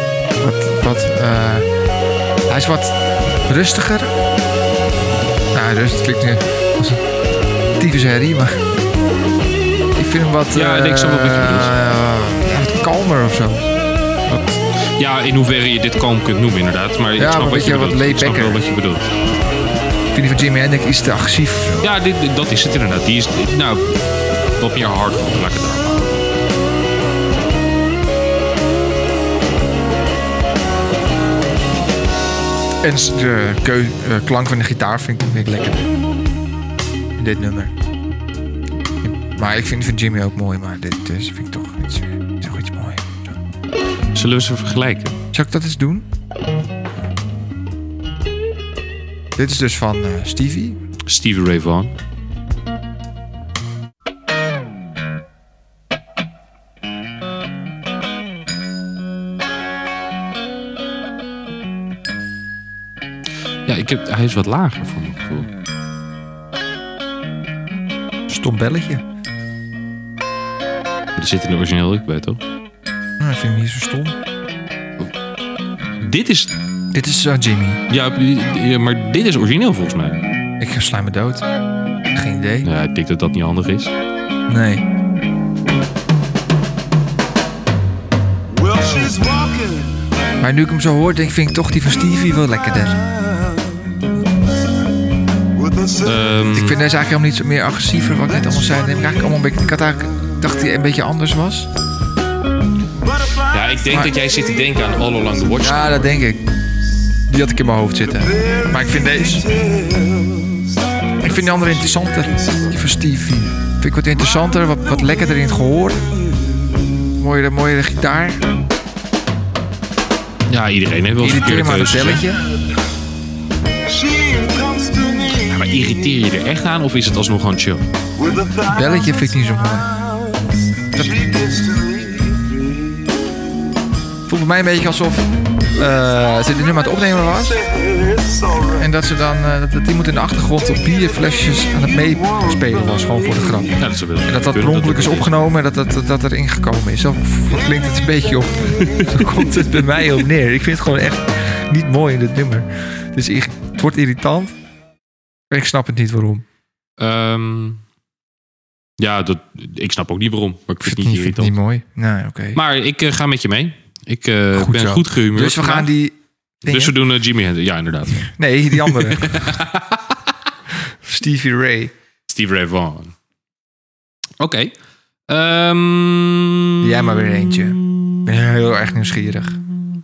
Wat, wat, eh, hij is wat rustiger. Nou, rust klinkt nu. was een tyfus herrie, maar... Ik vind hem wat...
Ja, ik denk zo wel wat je bedoelt.
eh, ja, wat kalmer of zo. Wat,
Ja, in hoeverre je dit kalm kunt noemen inderdaad. Maar ik
Ja,
snap
maar
wat
weet
je
je, wat
bedoelt. Ik snap wel
laidbacker.
wat je bedoelt.
ik vind die van Jimi Hendrix iets te agressief. of zo.
Ja, dit, dit- dat is het inderdaad. Die is, nou, wat meer hardrock, laat ik het daarop houden.
En de keu- eh, klank van de gitaar vind ik, vind ik lekker. In dit nummer. Maar ik vind die van Jimmy ook mooi, maar dit is, vind ik toch iets, toch iets mooi. Zo.
Zullen we ze vergelijken?
Zal ik dat eens doen? Dit is dus van eh, Stevie.
Stevie Ray Vaughan. Ja, ik heb, hij is wat lager voor mijn gevoel.
Stom belletje.
Er zit in de origineel ook bij, toch?
Nou, dat vind ik niet zo stom.
Dit is...
Dit is eh, Jimmy.
Ja, ja, maar dit is origineel volgens mij.
Ik sla me dood. Geen idee.
Ja, ik denk dat dat niet handig is.
Nee.
Well, she's walking.
Maar nu ik hem zo hoor, denk, ik, vind ik toch die van Stevie wel lekkerder.
With a silver
Ehm,
Ik vind deze eigenlijk helemaal niet zo meer agressiever. Wat ik net allemaal zei. Neem ik, eigenlijk allemaal een beetje, ik had eigenlijk, dacht hij een beetje anders was.
butterfly.
ja, ik denk
Maar-
dat jij zit te denken aan All Along the Watch.
Ja, dat denk ik. Die had ik in mijn hoofd zitten. Maar ik vind deze. Ik vind die andere interessanter. Die van Stevie. Vind ik wat interessanter, wat, wat lekkerder in het gehoor. Mooiere, mooiere gitaar.
Ja, iedereen heeft wel een eh,
Irriteer
verkeerde
maar dat
keuzes, hè?
belletje.
She comes to me
Maar irriteer je er echt aan of is het alsnog gewoon chill?
with a thousand
Belletje vind ik niet zo mooi.
smiles. She gives to me free.
Voelt bij mij een beetje alsof eh, ze dit nummer aan het opnemen was.
It's alright.
En dat ze dan, eh, dat- dat iemand in de achtergrond op bierflesjes aan het meespelen was. Gewoon voor de grap.
Ja, dat zou wel
En dat dat per
kunnen,
ongeluk is
dat-
opgenomen en dat dat, dat, dat erin gekomen is. Zo klinkt het een beetje op. Zo komt het bij mij op neer. Ik vind het gewoon echt niet mooi in dit nummer. Dus ik- het wordt irritant. En ik snap het niet waarom.
Ehm, ja, dat, ik snap ook niet waarom. Maar ik vind het niet
vind
irritant.
mooi. Nee, oké.
Maar ik eh, ga met je mee. Ik eh,
Goed
ben
zo.
goed gehumeurd.
Dus we gaan
vandaag.
die... dingen-
Dus we doen eh, Jimmy Hendrix. Ja, inderdaad.
Nee, die andere. Stevie Ray.
Steve Ray Vaughan. Oké. Ehm,
Jij maar weer eentje. Ik ben heel erg nieuwsgierig.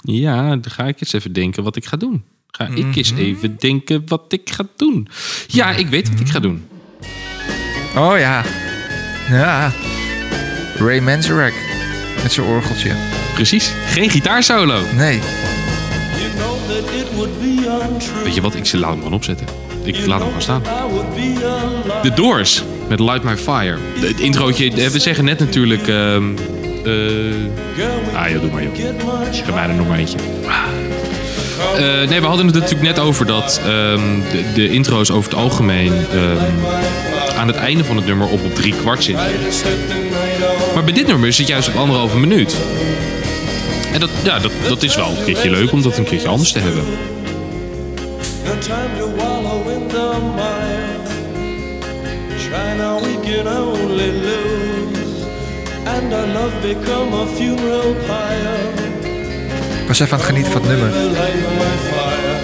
Ja, dan ga ik eens even denken wat ik ga doen. Ga ik eens even denken wat ik ga doen. Ja, ik weet wat ik ga doen.
Oh ja. Ja. Ray Manzarek. Met zijn orgeltje.
Precies. Geen gitaarsolo.
Nee.
Weet je wat? Ik laat hem gewoon opzetten. Ik laat hem gewoon staan. The Doors met Light My Fire. De- Het introotje, eh, we zeggen net natuurlijk... ehm, eh, ah ja, doe maar joh. Geef mij er nog maar eentje. Eh, nee, we hadden het natuurlijk net over dat ehm, de, de intro's over het algemeen ehm, aan het einde van het nummer of op drie kwart zitten. Maar bij dit nummer is het juist op anderhalve minuut. En dat, ja, dat, dat is wel een keertje leuk om dat een keertje anders te hebben.
No time to wallow in the mire. Try now, we can only lose. And our love become a funeral pyre.
Ik was even aan het genieten van het nummer.
Light my fire.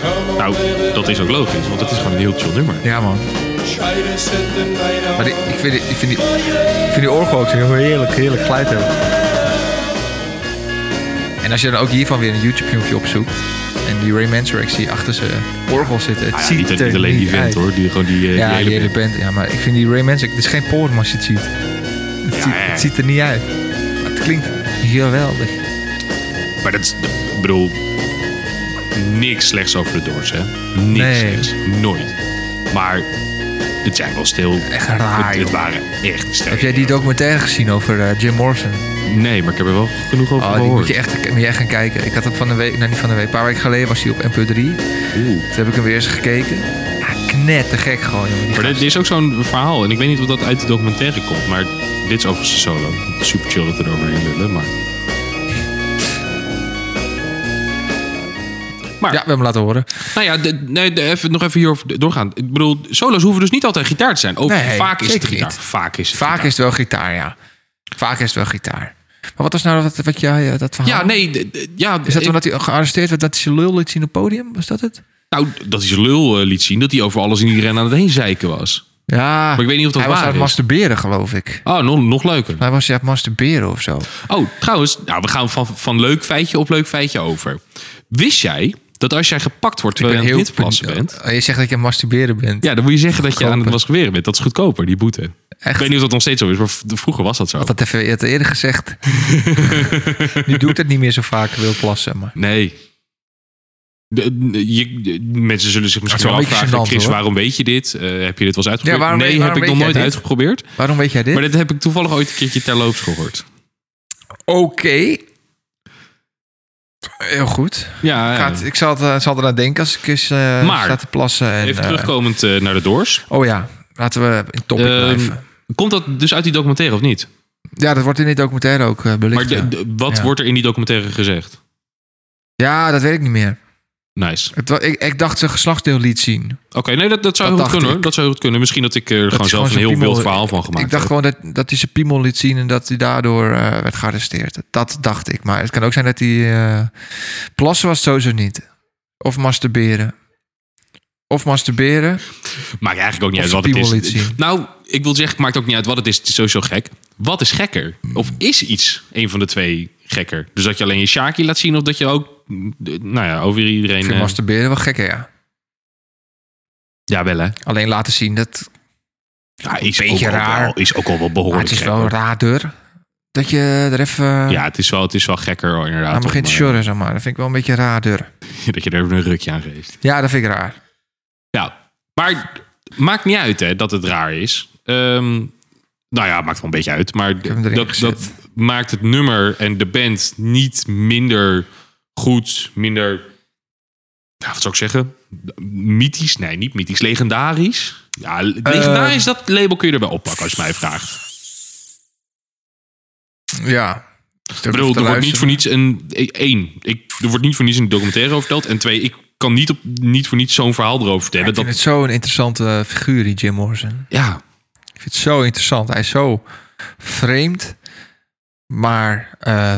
Come on,
Nou, dat is ook logisch, want het is gewoon een heel chill nummer.
Ja man.
try to set the night out.
Maar die- ik, vind, die- ik, vind die, ik vind die orgel ook zo heel heerlijk, heerlijk geluid hebben. En als je dan ook hiervan weer een YouTube-filmpje opzoekt. En die Ray Manzarek zie je achter zijn orgel zitten. Het
Ah ja,
ziet
niet,
er
niet alleen die
niet
vent
uit.
hoor, die, gewoon die, eh,
Ja,
die hele band.
band. Ja, maar ik vind die Ray Manzarek... Het is geen porno als je het ziet. Het, ziet,
ja.
het ziet er niet uit. Maar het klinkt geweldig.
Maar dat is, ik bedoel, niks slechts over de Doors hè. Niks
Nee.
slechts, nooit. Maar het zijn wel stil.
Echt raar,
Het, het
joh.
waren echt sterke.
Heb jij die documentaire gezien over eh, Jim Morrison?
Nee, maar ik heb er wel genoeg over
Oh, die
gehoord.
moet je, echt, moet je echt gaan kijken. Ik had hem van de week, nou niet van de week, een paar weken geleden was hij op NPO 3.
Oeh.
Toen heb ik hem weer eens gekeken. Ja, knettergek gewoon. Jongen, die
Maar dit,
gast.
dit is ook zo'n verhaal. En ik weet niet of dat uit de documentaire komt. Maar dit is overigens een solo. Super chill dat we eroverheen lullen. Maar... Maar
Ja, we hebben hem laten horen.
nou ja, de- nee, de- even, nog even hierover doorgaan. Ik bedoel, solo's hoeven dus niet altijd gitaar te zijn. Ook,
Nee,
vaak is het
zeker
gitaar.
niet.
Vaak is het
Vaak
gitaar.
is het wel gitaar, ja. Vaak is het wel gitaar. Maar wat was nou wat, wat jij eh, dat verhaal?
Ja, nee. de- de- ja,
Is dat
ik-
omdat hij gearresteerd werd dat hij zijn lul liet zien op het podium? Was dat het?
Nou, dat hij zijn lul eh, liet zien. Dat hij over alles en iedereen aan het heen zeiken was.
Ja.
Maar ik weet niet of dat
hij was
waar
aan het
is.
masturberen, geloof ik.
Oh, nog, nog leuker.
Hij was aan het masturberen of zo.
Oh, trouwens. Nou, we gaan van, van leuk feitje op leuk feitje over. Wist jij dat als jij gepakt wordt terwijl je aan het witplassen bent...
Oh, Je zegt dat je aan het masturberen bent.
Ja, dan moet je zeggen dat je aan het
Goedkoper.
masturberen bent. Dat is goedkoper, die boete.
Echt?
Ik weet niet of dat nog steeds zo is, maar v- vroeger was dat zo.
Dat heb je het eerder gezegd. nu doe ik dat niet meer zo vaak, wil plassen. Maar.
Nee. De- de- je, de- mensen zullen zich misschien
wel
wel
een beetje
afvragen,
gênant,
Chris,
hoor.
waarom weet je dit? Eh, heb je dit wel eens uitgeprobeerd?
waarom
nee,
weet- waarom
heb ik
weet
nog
jij
nooit
dit?
uitgeprobeerd.
Waarom weet jij dit?
Maar dit heb ik toevallig ooit een keertje terloops gehoord.
Oké. Heel goed.
Ja, ja.
Gaat, ik zal, het, eh, zal er aan denken als ik eens eh
Maar-
sta te plassen. En,
even
eh,
terugkomend eh, naar de Doors.
oh ja, laten we in topic
Ehm,
blijven.
komt dat dus uit die documentaire of niet?
Ja, dat wordt in dit documentaire ook eh, belicht.
Maar de-
ja.
de- wat
Ja.
wordt er in die documentaire gezegd?
Ja, dat weet ik niet meer.
Nice.
Het, wa- ik, ik dacht zijn geslachtsdeel liet zien.
Oké, nee, dat, dat zou heel
Dat dacht
goed kunnen. hoor.
ik.
Dat zou heel goed kunnen. Misschien dat ik eh, er
Dat
gewoon
is
zelf een
zijn
heel
piemel-
wild verhaal van gemaakt
Ik dacht
heb.
gewoon dat, dat hij zijn piemel liet zien en dat hij daardoor eh, werd gearresteerd. Dat dacht ik. Maar het kan ook zijn dat hij... eh, plassen was het sowieso niet. Of masturberen. Of masturberen.
Maakt eigenlijk ook niet
Of
uit wat
spiegel
het is.
liet zien.
Nou, ik wil zeggen, het maakt ook niet uit wat het is. Het is sowieso gek. Wat is gekker? Of is iets een van de twee gekker? Dus dat je alleen je Shaki laat zien of dat je ook, mm, d- nou ja, over
Ik
iedereen...
vind
eh,
masturberen wel gekker, ja.
ja, wel hè.
Alleen laten zien dat...
Ja, is
Beetje
ook al
raar.
wel- is ook al wel
Maar
behoorlijk
het is
gek,
wel
hoor.
raarder dat je er even
Ja, het is wel, het is wel gekker hoor, inderdaad.
aan begint te
maar-
sjorren, zeg maar. Dat vind ik wel een beetje raarder.
Dat je er even een rukje aan geeft.
Ja, dat vind ik raar.
Ja, Nou, maar maakt niet uit hè, dat het raar is. Ehm, nou ja, maakt wel een beetje uit. Maar
heb hem erin
dat,
gezet.
dat maakt het nummer en de band niet minder goed, minder... Ja, wat zou ik zeggen? Mythisch? Nee, niet mythisch. Legendarisch? Ja, legendarisch,
Eh,
dat label kun je erbij oppakken als je mij vraagt.
Ja.
Ik bedoel, er wordt niet voor niets een... e- Één, ik, er wordt niet voor niets een documentaire over verteld. En twee, ik kan niet, op, niet voor niets zo'n verhaal erover vertellen.
Ik vind
Dat,
het zo'n interessante figuur, die Jim Morrison.
ja,
Ik vind het zo interessant. Hij is zo vreemd. Maar eh,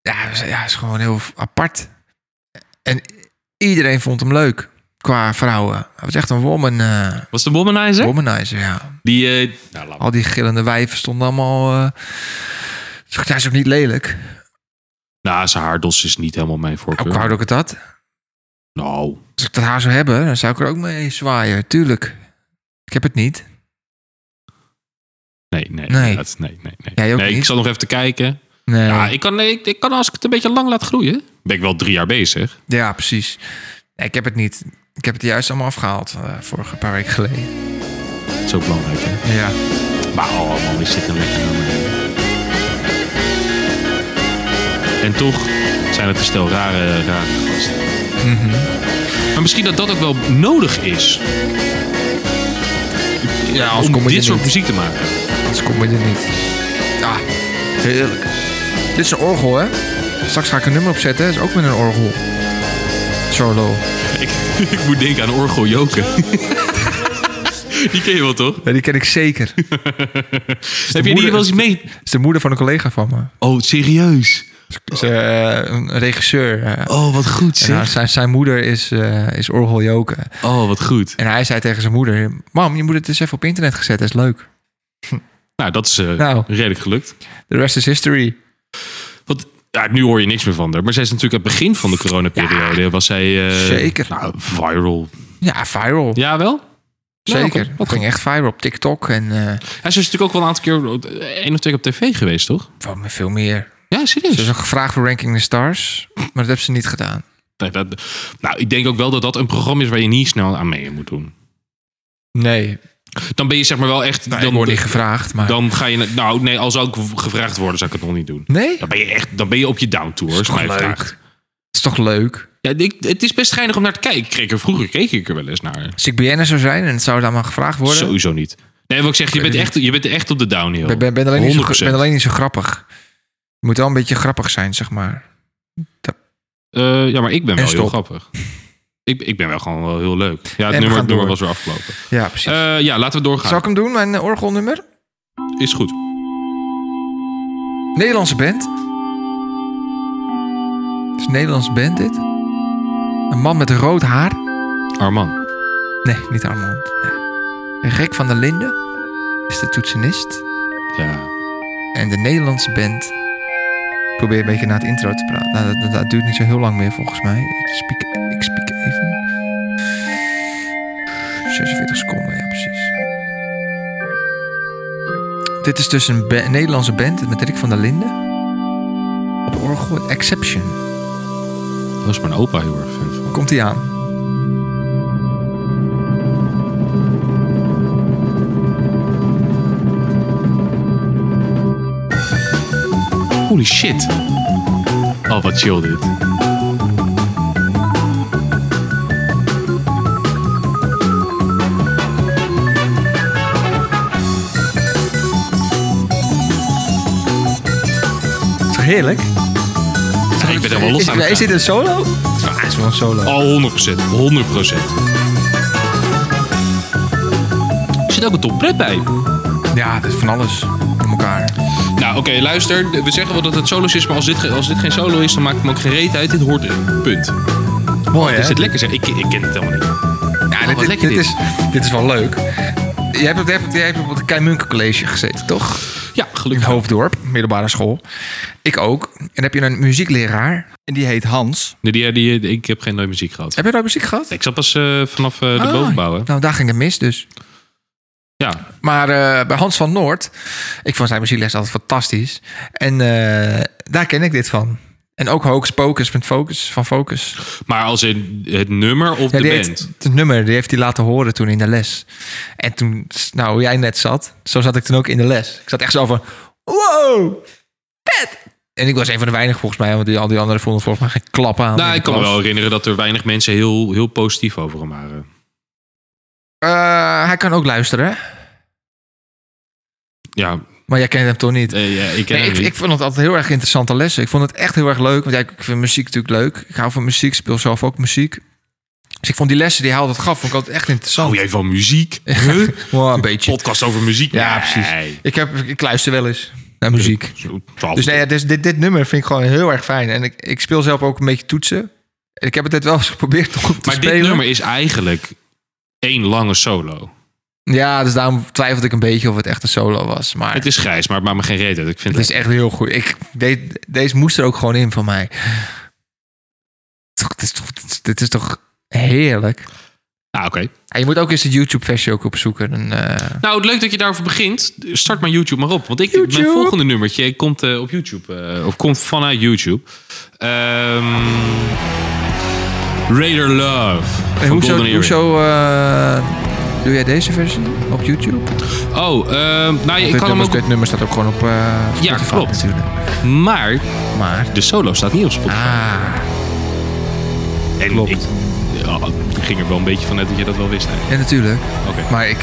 ja, hij is- ja, hij is gewoon heel apart. En iedereen vond hem leuk. Qua vrouwen. Hij was echt een woman, eh,
was de Womanizer?
womanizer, ja.
Die, eh, nou, laat maar.
Al die gillende wijven stonden allemaal... eh, dus hij is ook niet lelijk.
Nou, zijn haardos is niet helemaal mijn
Ook
voorkeur.
wou ik het had.
nou,
Als ik dat haar zou hebben, dan zou ik er ook mee zwaaien. Tuurlijk. Ik heb het niet.
nee, nee.
Nee.
Nee, nee, nee. nee.
Jij ook
nee ik
niet?
zat nog even te kijken.
Nee.
Ja, ik kan, nee, ik, ik kan als ik het een beetje lang laat groeien. Ben ik wel drie jaar bezig.
Ja, precies. Nee, ik heb het niet. Ik heb het juist allemaal afgehaald eh, vorige paar weken geleden.
Dat is ook belangrijk, hè?
Ja.
Maar oh man, is dit een lekker nummer. En toch zijn het een stel rare, rare gasten.
Mhm.
Maar misschien dat dat ook wel nodig is. Ja,
anders
om
kom je
dit
er
soort
niet.
muziek te maken.
Anders kom je er niet. Ja, heerlijk. Dit is een orgel, hè? Straks ga ik een nummer opzetten. Dat is ook met een orgel. Solo.
Ik, ik moet denken aan Orgel Joken. Die ken je wel, toch?
Ja, die ken ik zeker. Dat
Heb je die
moeder-
wel eens mee?
is de moeder van een collega van me.
Oh, serieus?
Ze is eh, een regisseur. eh.
Oh, wat goed
en haar- zijn, zijn moeder is, eh is orgel Joke.
Oh, wat goed.
En hij zei tegen zijn moeder... Mam, je moet het eens even op internet gezet. Dat is leuk.
Nou, dat is eh,
Nou.
redelijk gelukt.
The rest is history.
Want ja, nu hoor je niks meer van haar. Maar zij is natuurlijk aan het begin van de coronaperiode. was zij... eh,
Zeker.
Nou, viral.
Ja, viral.
Jawel?
Zeker.
oké.
Dat ging echt viral op TikTok en eh,
Ja, ze is natuurlijk ook wel een aantal keer eh, één of twee keer op tv geweest, toch?
wat me veel meer.
Ja,
Ze is
serieus.
ook gevraagd voor Ranking the Stars, maar dat hebben ze niet gedaan.
Nee, dat- nou, ik denk ook wel dat dat een programma is waar je niet snel aan mee moet doen.
Nee,
Dan ben je zeg maar wel echt...
dan,
dan,
ik word niet gevraagd, maar...
dan ga je... na- Nou, nee, als ook gevraagd worden, zou ik het nog niet doen.
nee?
Dan ben je echt... Dan ben je op je downtour,
is
als je
toch
mij
leuk?
vraagt.
Het is toch leuk?
Ja, ik, het is best geinig om naar te kijken. Ik Kreeg er, vroeger keek ik er wel eens naar.
Als ik BN'er zou zijn en het zou dan maar gevraagd worden...
Sowieso niet. Nee, wat ik zeg, je
weet
bent,
het
echt, je bent echt op de downhill.
Ik ben, ben, alleen niet zo,
100%.
ben alleen niet zo grappig. Je moet wel een beetje grappig zijn, zeg maar. Dat
Eh, ja, maar ik ben wel heel
stop.
grappig. Ik, ik ben wel gewoon wel heel leuk. Ja,
we
het nummer, nummer
gaan door.
was weer afgelopen.
Ja, precies.
Eh, ja, laten we doorgaan.
Zal ik hem doen, mijn eh, orgelnummer?
Is goed.
Nederlandse band. Het is een Nederlandse band dit. Een man met rood haar.
Arman.
Nee, niet Armand. Nee. Rick van der Linden is de toetsenist.
Ja.
En de Nederlandse band. Ik probeer een beetje naar het intro te praten. Nou, dat, dat- dat duurt niet zo heel lang meer volgens mij. Ik spiek, ik spiek even. 46 seconden, ja precies. Dit is dus een ba- Nederlandse band met Rick van der Linden. Op orgel Exception.
Dat is mijn opa heel erg fan van.
Komt hij aan.
Holy shit. Oh, wat chill dit.
Dat is toch heerlijk?
ik ben er wel los
Is-
aan het
Is dit een solo? Ja, het is wel een solo.
Oh, 100%. 100%. Er zit ook een top pret bij.
Ja, dat is van alles om elkaar.
Nou, oké, luister. We zeggen wel dat het solo's is, maar als dit, ge- als dit geen solo is, dan maakt het me ook geen reet uit. Dit hoort erin. Punt.
Mooi,
Is het lekker? zeg? Ik, ik ken het helemaal niet.
Ja,
Oh, wat
dit, dit,
lekker dit.
Is, dit is wel leuk. Jij hebt, op- jij hebt, jij hebt op het Keimunke College gezeten, toch?
Ja,
In
gelukkig.
Hoofddorp, middelbare school. Ik ook. En dan heb je een muziekleraar. En die heet Hans.
Nee, die, die, ik heb geen nooit muziek gehad.
Heb je nou muziek gehad?
Ik zat pas eh, vanaf eh, de
Ah,
bovenbouw, hè?
Nou, daar ging het mis dus.
Ja.
Maar eh, bij Hans van Noord, ik vond zijn muziekles altijd fantastisch. En eh, daar ken ik dit van. En ook Hocus Pocus met Focus, van Focus.
Maar als in het nummer of
Ja,
de
die
band?
heeft, het nummer die heeft hij laten horen toen in de les. En toen, nou, hoe jij net zat, zo zat ik toen ook in de les. Ik zat echt zo van, wow, vet! En ik was een van de weinig volgens mij, want die, al die anderen vonden volgens mij geen klap aan. in
nou,
de
ik kan me
klas.
wel herinneren dat er weinig mensen heel, heel positief over hem waren.
Eh, hij kan ook luisteren, hè?
Ja,
maar jij kent hem toch niet?
eh, ja, ik ken
Nee,
hem
ik,
niet.
ik vond het altijd heel erg interessante lessen. Ik vond het echt heel erg leuk. Want ja, ik ik vind muziek natuurlijk leuk. Ik hou van muziek, speel zelf ook muziek. Dus ik vond die lessen die hij altijd gaf, vond ik altijd echt interessant.
Oh, jij van muziek? Huh?
Wow, een beetje.
Podcast over muziek?
Ja,
Nee.
precies. Ik, heb, ik luister wel eens naar muziek.
Zo, twaalf
Dus, nee, ja, dus dit, dit nummer vind ik gewoon heel erg fijn. En ik, ik speel zelf ook een beetje toetsen. Ik heb het net wel eens geprobeerd om te
maar
spelen.
dit nummer is eigenlijk één lange solo.
Ja, dus daarom twijfelde ik een beetje of het echt een solo was. Maar
Het
het
is grijs, maar het maakt me geen reet uit. Ik
is,
vind het
echt heel goed. Ik, de- deze moest er ook gewoon in van mij. Toch, Dit is toch, dit is toch heerlijk.
Ah, oké.
En je moet ook eens de YouTube-versie ook opzoeken. Dan, eh,
Nou, het leuk dat je daarover begint. Start maar YouTube maar op. Want ik,
YouTube.
mijn volgende nummertje komt eh, op YouTube. eh, of komt vanuit YouTube. Ehm Raider Love.
en
van Golden
hoezo
Earring.
hoezo eh, doe jij deze versie op YouTube?
Oh, ehm, nou, ja, ik
dit,
kan hem
nummer,
ook...
dit nummer staat ook gewoon op eh
Ja,
Spotify
klopt.
natuurlijk.
Maar
Maar...
de solo staat niet op Spotify.
Ah...
en
klopt.
Ik, ja, ik ging er wel een beetje vanuit dat je dat wel wist. Hè?
Ja, natuurlijk.
Oké.
Maar ik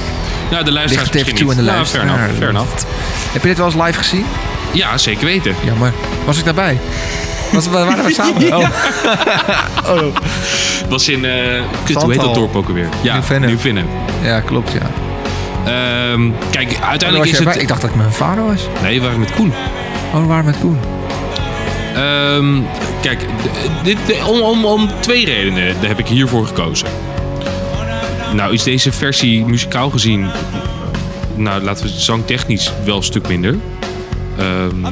Nou, de
ligt
luisteraars
het even
misschien
toe aan
niet.
de
Nou,
luisteraar.
fair enough, fair enough.
Heb je dit wel eens live gezien?
Ja, zeker weten.
Jammer. Was ik daarbij? Was, wa- waren we samen? Oh,
Was in... eh kut, hoe heet
Zandhal.
dat dorp ook alweer? Ja,
Nieuw-Vennep.
Nieuw-Vennep.
ja, klopt, ja.
Ehm, kijk,
En was
uiteindelijk
je
is
erbij? Ik
het...
dacht dat ik mijn vader was.
Nee, we waren met Koen.
Oh, we waren met Koen.
Ehm, kijk, d- dit, d- om, om, om twee redenen heb ik hiervoor gekozen. Nou, is deze versie muzikaal gezien, nou laten we zangtechnisch wel een stuk minder. Ehm,
When on the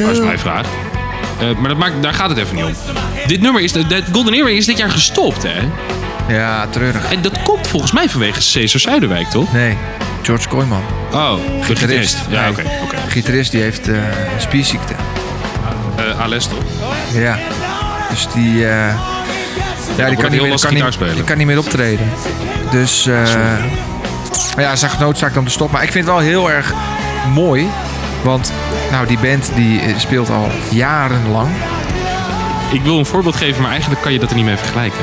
dat is
wheel.
mijn vraag. Eh, maar dat maakt, daar gaat het even niet om. Dit nummer is, dat Golden Earring is dit jaar gestopt, hè?
Ja, treurig.
En dat komt volgens mij vanwege Cesar Zuiderwijk, toch?
Nee, George Kooijman.
Oh, de gitarist. Ja,
Nee.
oké. oké.
De gitarist die heeft eh, een spierziekte.
Eh, Ales, toch?
Ja. Dus die... eh, ja, die
het
kan,
heel
niet meer,
lastig
kan,
gitaar
niet,
spelen.
die kan niet meer optreden. Dus... eh, maar ja, ze genoodzaakt om te stoppen. Maar ik vind het wel heel erg mooi. Want nou, die band die eh, speelt al jarenlang.
Ik wil een voorbeeld geven, maar eigenlijk kan je dat er niet mee vergelijken.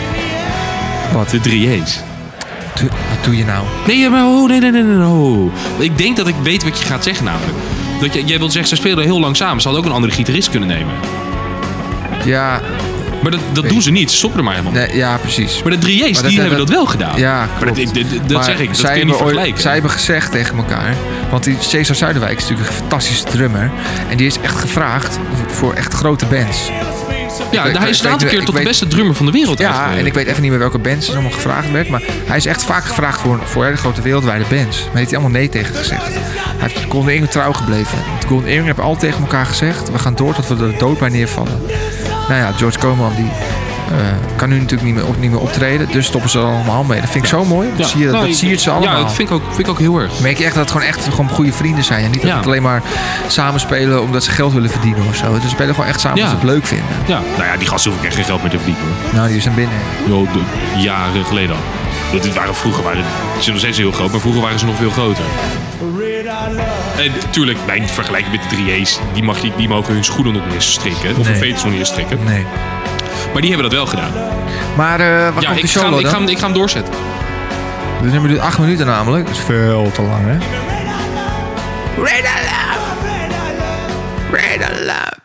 Wat?
De 3E's.
Doe- wat doe je nou?
Nee, maar oh, nee, nee, nee, nee, no. Ik denk dat ik weet wat je gaat zeggen namelijk. Dat je, jij wilt zeggen, ze speelden heel langzaam. Ze hadden ook een andere gitarist kunnen nemen.
Ja,
Maar dat, dat doen ze niet. Ze stoppen er maar helemaal mee.
nee, ja precies.
Maar de Drieërs,
Maar
die
dat
hebben dat
hebben-
wel gedaan.
Ja,
Maar dat,
klopt.
ik- dat- dat
Maar
zeg ik. Dat
zij
kun je niet
hebben ooit-
vergelijken.
Zij hebben gezegd tegen elkaar. Want die Cesar Zuiderwijk is natuurlijk een fantastische drummer. En die is echt gevraagd voor echt grote bands.
ja,
ik-
hij
ik
is een
weet-
aantal keer
ik
tot de
weet-
beste drummer van de wereld
Ja,
uitgeroepen.
en ik weet even niet meer welke bands er allemaal gevraagd werd. Maar hij is echt vaak gevraagd voor, voor hele grote wereldwijde bands. Maar heeft hij allemaal nee tegen gezegd. Hij heeft Golden Earring trouw gebleven. Want Golden Earring hebben al tegen elkaar gezegd... we gaan door tot we er dood bij neervallen. Nou ja, George Coleman die... eh, kan nu natuurlijk niet meer, op, niet meer optreden, dus stoppen ze er allemaal mee. Dat vind ik zo mooi. Dat,
Ja.
zie je,
Nou,
dat
ik-
siert ze allemaal.
Ja, dat vind ik ook, vind ik ook heel erg.
merk je echt dat het gewoon echt gewoon goede vrienden zijn. En niet dat
Ja.
het alleen maar samen spelen omdat ze geld willen verdienen of zo. Dus Ze spelen gewoon echt samen
Ja.
omdat ze het leuk vinden.
Ja. Nou ja, die gasten hoef ik echt geen geld meer te verdienen hoor.
Nou, die zijn binnen.
Yo, de- jaren geleden al. Dat dit waren vroeger waren ze zijn nog steeds heel groot, maar vroeger waren ze nog veel groter. En tuurlijk, mijn vergelijking met de 3A's, die, mag je, die mogen hun schoenen nog niet eens strikken. Of hun
Nee.
veters nog niet eens strikken.
Nee.
Maar die hebben dat wel gedaan.
Maar eh waar
ja,
komt
ik
die
ga, hem-
solo
ik,
dan?
ga hem, ik ga hem doorzetten.
We hebben nu acht minuten namelijk. Dat is veel te lang, hè? Red Alarm! Red Alarm!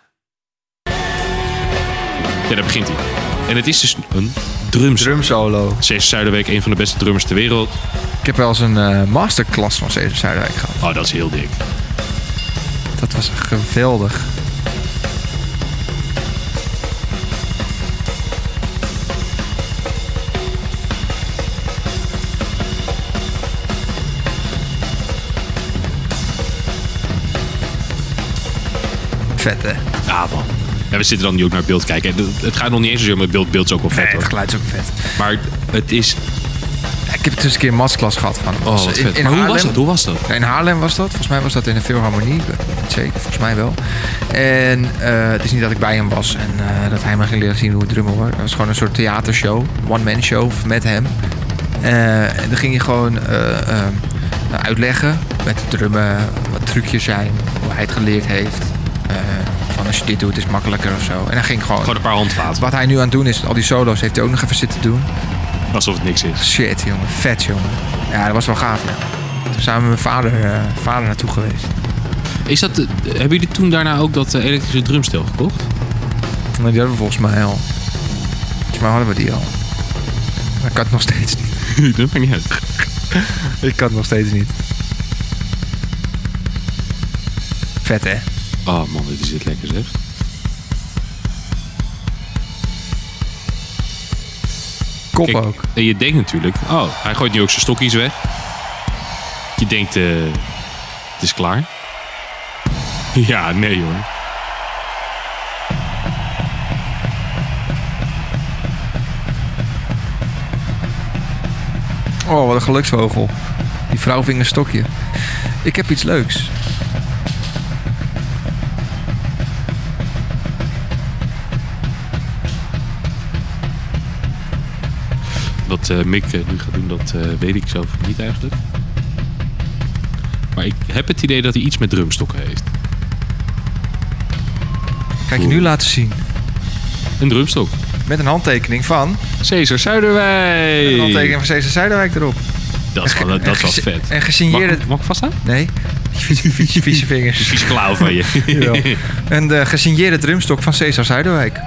Ja, daar begint hij. En het is dus een drums.
Drum solo.
Cesar Zuiderweek, een van de beste drummers ter wereld.
Ik heb wel eens een eh, masterclass van Cesar Zuiderwijk gehad.
Oh, dat is heel dik.
Dat was geweldig. Vet, hè?
Ja, man. Ja, we zitten dan nu ook naar het beeld kijken. Het, het gaat nog niet eens zozeer om het beeld. beeld is ook wel vet,
Nee, het
hoor.
geluid is ook vet.
Maar het is...
Ik heb dus een keer een masterclass gehad van hem.
Oh, wat
In-
vet.
in
Maar hoe was
Haarlem.
dat? Hoe was dat?
In Haarlem was dat. Volgens mij was dat in de Philharmonie. Ik weet het niet Zeker, volgens mij wel. En eh, het is niet dat ik bij hem was en eh, dat hij me ging leren zien hoe het drummen wordt. Het was gewoon een soort theatershow. One-man show met hem. Eh, en dan ging hij gewoon eh, eh, uitleggen met de drummen wat trucjes zijn. Hoe hij het geleerd heeft. Eh, van als je dit doet is het makkelijker of zo. En dan ging ik gewoon...
Gewoon een paar handvaten.
Wat hij nu aan het doen is, al die solo's heeft hij ook nog even zitten doen.
Alsof het niks is.
Shit, jongen. Vet, jongen. Ja, dat was wel gaaf, ja. Toen zijn we met mijn vader, eh, vader naartoe geweest.
is dat de- hebben jullie toen daarna ook dat eh, elektrische drumstel gekocht?
Maar die hadden we volgens mij al. Volgens mij hadden we die al. Maar ik kan het nog steeds niet.
dat maakt niet uit.
Ik kan het nog steeds niet. Vet, hè?
Oh man, dit is het lekker zeg.
Kop
Kijk,
ook.
En je denkt natuurlijk, oh, hij gooit nu ook zijn stokjes weg. Je denkt, eh, het is klaar. Ja, nee hoor.
Oh, wat een geluksvogel. Die vrouw ving een stokje. Ik heb iets leuks.
Wat eh, Mick eh, nu gaat doen, dat eh, weet ik zelf niet eigenlijk. Maar ik heb het idee dat hij iets met drumstokken heeft.
Ga ik je nu laten zien.
Een drumstok.
Met een handtekening van...
Cesar Zuiderwijk.
Een handtekening van Cesar Zuiderwijk erop.
Dat is wel, dat is wel
En gese-
vet.
En
Mag,
gesigneerde...
ik- mag ik vaststaan?
Nee. Vieze, vieze, vieze vingers.
Vies klauw van je.
Jawel. Een eh, gesigneerde drumstok van Cesar Zuiderwijk.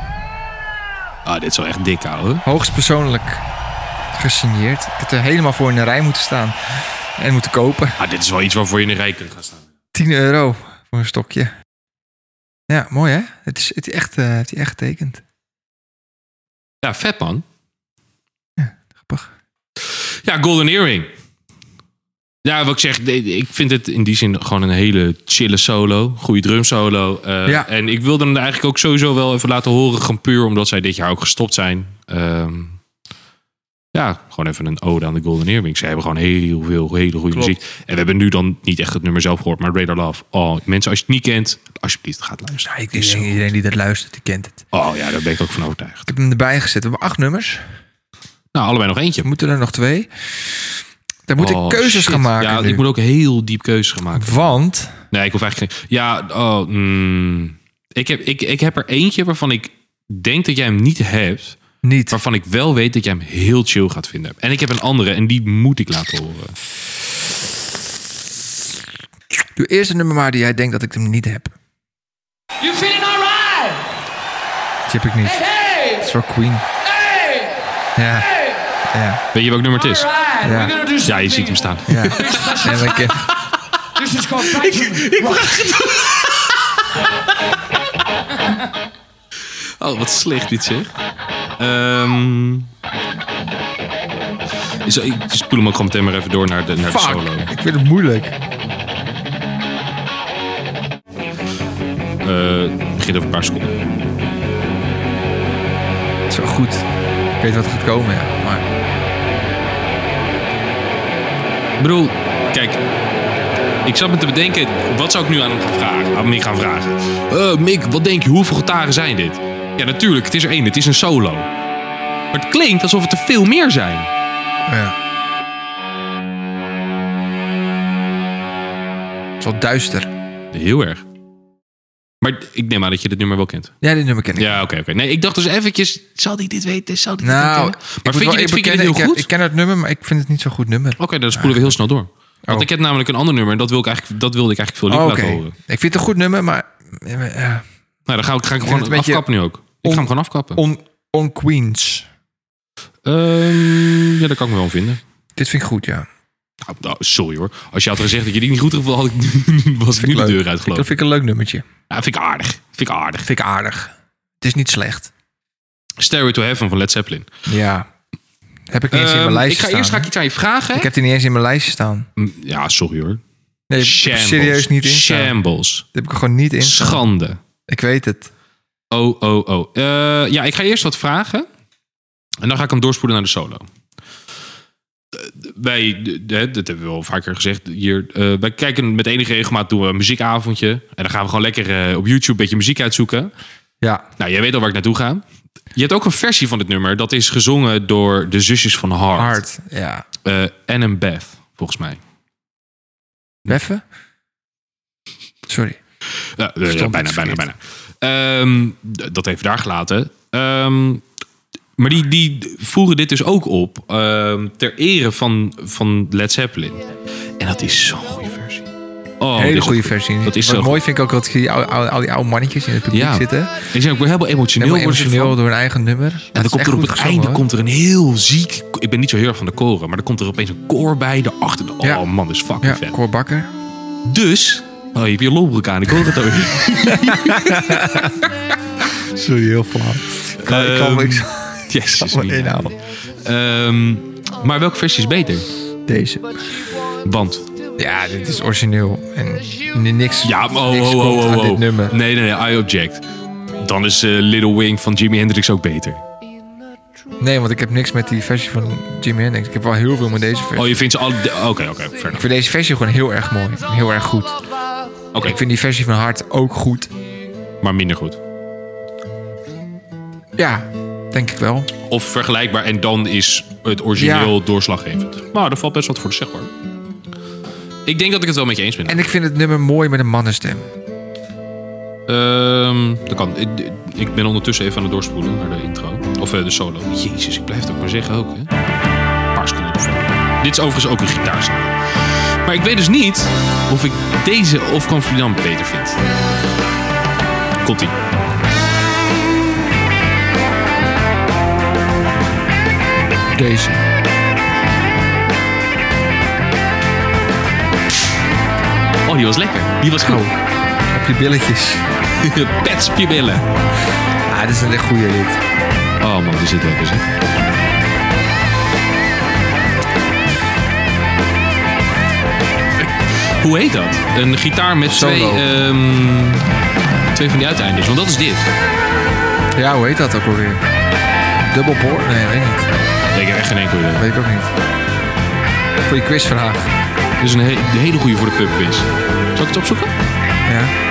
Ah, dit is wel echt dik, ouwe.
Hoogst persoonlijk gesigneerd. Ik heb er helemaal voor in de rij moeten staan. En moeten kopen.
Ah, dit is wel iets waarvoor je in de rij kunt gaan staan.
10 euro voor een stokje. Ja, mooi hè? Het is, het is echt, eh heeft hij echt getekend.
Ja, vet man.
Grappig.
Ja, Golden Earring. Ja, wat ik zeg, de- ik vind het in die zin gewoon een hele chille solo. Goede drumsolo. Eh,
Ja.
En ik wilde hem eigenlijk ook sowieso wel even laten horen. Gewoon puur omdat zij dit jaar ook gestopt zijn. Ehm, ja, gewoon even een ode aan de Golden Earring. Ze hebben gewoon heel veel hele goede
Klopt.
muziek. En we hebben nu dan niet echt het nummer zelf gehoord, maar Radar Love. Oh, mensen, als je het niet kent, alsjeblieft, gaat luisteren.
ik denk iedereen die dat luistert, die kent het.
Oh ja, daar ben ik ook van overtuigd.
Ik heb hem erbij gezet. We hebben acht nummers.
Nou, allebei nog eentje.
We moeten er nog twee. Daar moet
Oh,
ik keuzes
shit.
gaan maken.
Ja,
nu.
ik moet ook heel diep keuzes gaan maken.
Want
Nee, ik hoef eigenlijk geen... Ja, oh, mm. ik, heb, ik, ik heb er eentje waarvan ik denk dat jij hem niet hebt.
niet.
Waarvan ik wel weet dat jij hem heel chill gaat vinden. En ik heb een andere en die moet ik laten horen.
Doe eerst een nummer maar die jij denkt dat ik hem niet heb.
You feeling alright?
chip ik niet. Het is wel Queen. Ja. Ja.
Weet je welk nummer het is?
Ja.
Ja, je ziet hem staan.
Ja. Ja, maar ik, eh,
This is called Brighton Rock.
Oh, wat slecht dit zeg. Ehm is, ik spoel hem ook gewoon meteen maar even door naar de, naar de solo.
fuck. Ik vind het moeilijk.
Eh, het begint over een paar seconden.
Het is wel goed. Ik weet wat er gaat komen, ja. Maar
Ik bedoel, kijk. Ik zat me te bedenken, wat zou ik nu aan hem gaan vragen? Aan Mick gaan vragen. Eh, Mick, wat denk je, hoeveel gitaren zijn dit? Ja, natuurlijk, het is er één, het is een solo. Maar het klinkt alsof het er veel meer zijn.
ja. Het is wel duister.
Heel erg. Maar ik neem aan dat je dit nummer wel kent.
Ja, dit nummer ken ik.
Ja, oké, oké. Nee, ik dacht dus eventjes, zal die dit weten? Zal die dit
Nou,
wel
ik
kennen?
moet
Maar vind
wel
je dit,
even
vind je dit
bekennen,
heel
ik heb-
goed? Oh,
Ik ken het nummer, maar ik vind het niet zo'n goed nummer.
Oké, dan spoelen we heel snel door. Want
Oh.
ik heb namelijk een ander nummer en dat, wil ik eigenlijk, dat wilde ik eigenlijk veel
Oh,
liever
Oké.
laten horen.
Ik vind het een goed nummer, maar eh, eh,
Nou, dan ga ik, ga ik
vind
gewoon
het een beetje
afkappen nu ook. Ik ga
on-
hem gewoon afkappen.
on, on Queens.
Ehm, ja, dat kan ik me wel vinden.
Dit vind ik goed, ja.
Nou, nou, sorry hoor. Als je had gezegd dat je die niet goed gevoel had, ik nu- was ik nu de
leuk.
deur uit geloof
Dat
ik.
vind ik een leuk nummertje.
Ja, vind ik aardig. Vind ik aardig.
Vind ik aardig. Het is niet slecht.
Stairway to Heaven van Led Zeppelin.
Ja. Heb ik niet eens in mijn
Ehm,
lijstje
ik ga
staan.
eerst ga ik
hè?
iets aan je vragen.
Ik heb die niet eens in mijn lijstje staan.
Mm, Ja, sorry hoor.
Nee, ik heb
Shambles.
er serieus niet in staan.
Shambles.
Dat heb ik er gewoon niet in staan.
Schande.
Ik weet het.
Oh, oh, oh. Eh, ja, ik ga eerst wat vragen. En dan ga ik hem doorspoelen naar de solo. Eh, Wij, de- de- dat hebben we al vaker gezegd hier. eh, wij kijken met enige regelmaat doen we een muziekavondje. En dan gaan we gewoon lekker eh, op YouTube een beetje muziek uitzoeken.
Ja.
Nou, jij weet al waar ik naartoe ga. Je hebt ook een versie van dit nummer. Dat is gezongen door de zusjes van Hart.
Hard. Ja.
Eh, en een Beth, volgens mij.
Beffen? Sorry.
Ja, eh,
Stond
bijna,
iets
bijna, bijna.
verkeerd.
Ehm, d- dat even daar gelaten. Ehm, maar die, die voeren dit dus ook op ehm, ter ere van, van Led Zeppelin. En dat is zo'n goede versie. Oh, dit
Hele
is
goede
ook-
versie.
Dat is
Wat
zo
mooi vind ik ook dat je die oude- oude- al die oude mannetjes in het publiek
Ja.
zitten.
goed. Ik ben ook weer helemaal emotioneel.
Helemaal
worden ze
emotioneel
ervan.
door hun eigen nummer.
En dan komt er op het einde komt er een heel ziek... Ik ben niet zo heel erg van de koren, maar er komt er opeens een koor bij. Daarachter, oh
Ja.
man, dat is fucking
Ja,
vet.
Cor Bakker.
Dus... Oh, je hebt je lolbroek aan, ik hoor het alweer.
Sorry, heel flauw. Ik kan, ik kan
Ehm,
niks
Jezus,
van
mina.
inhouden.
Ehm, maar welke versie is beter?
Deze.
Want...
Ja, dit is origineel. En ni- niks,
Ja, maar oh,
niks
oh,
komt
oh,
aan
oh,
dit
oh. Nee,
nummer.
nee, nee, I object. Dan is eh, Little Wing van Jimi Hendrix ook beter.
Nee, want ik heb niks met die versie van Jimi Hendrix. Ik heb wel heel veel met deze versie.
Oh, je vindt ze al... Oké, oké, fair
Ik
enough.
vind deze versie gewoon heel erg mooi. en Heel erg goed.
Oké,
Ik vind die versie van Hart ook goed.
maar minder goed.
Ja, denk ik wel.
Of vergelijkbaar en dan is het origineel doorslaggevend. Maar er valt best wat voor te zeggen hoor. Ik denk dat ik het wel met je eens ben.
En ik vind het nummer mooi met een mannenstem.
Ehm, dat kan. Ik, ik ben ondertussen even aan het doorspoelen naar de intro. Of eh, de solo. Jezus, ik blijf het ook maar zeggen ook, hè. Een paar seconden ervoor. Dit is overigens ook een gitaarsolo. Maar ik weet dus niet of ik deze of Confidant beter vind. Komt-ie.
Deze.
Oh, die was lekker. Die was goed.
Op je billetjes.
Pets op je billen.
Ah, dit is een echt goede lied.
Oh man, die zit lekker zeg. Hoe heet dat? Een gitaar met
Solo.
twee, ehm, twee van die uiteinders. Want dat is dit.
Ja, hoe heet dat ook alweer? Dubbelboor? Nee, weet ik niet.
Nee, ik heb echt geen enkel idee.
Weet ik ook niet. Goeie quizvraag.
Dit is een he- een hele goede voor de pubquiz. Zal ik het opzoeken?
Ja.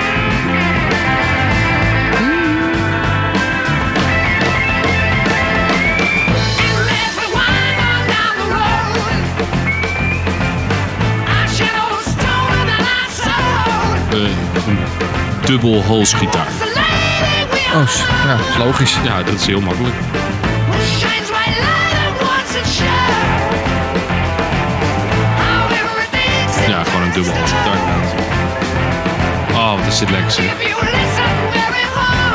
Eh, een dubbel hols gitaar.
Oh, s- ja, is logisch.
Ja, dat is heel makkelijk. Ja, gewoon een dubbel hols gitaar. Oh, wat is dit lekker zeg.
If you listen very hard,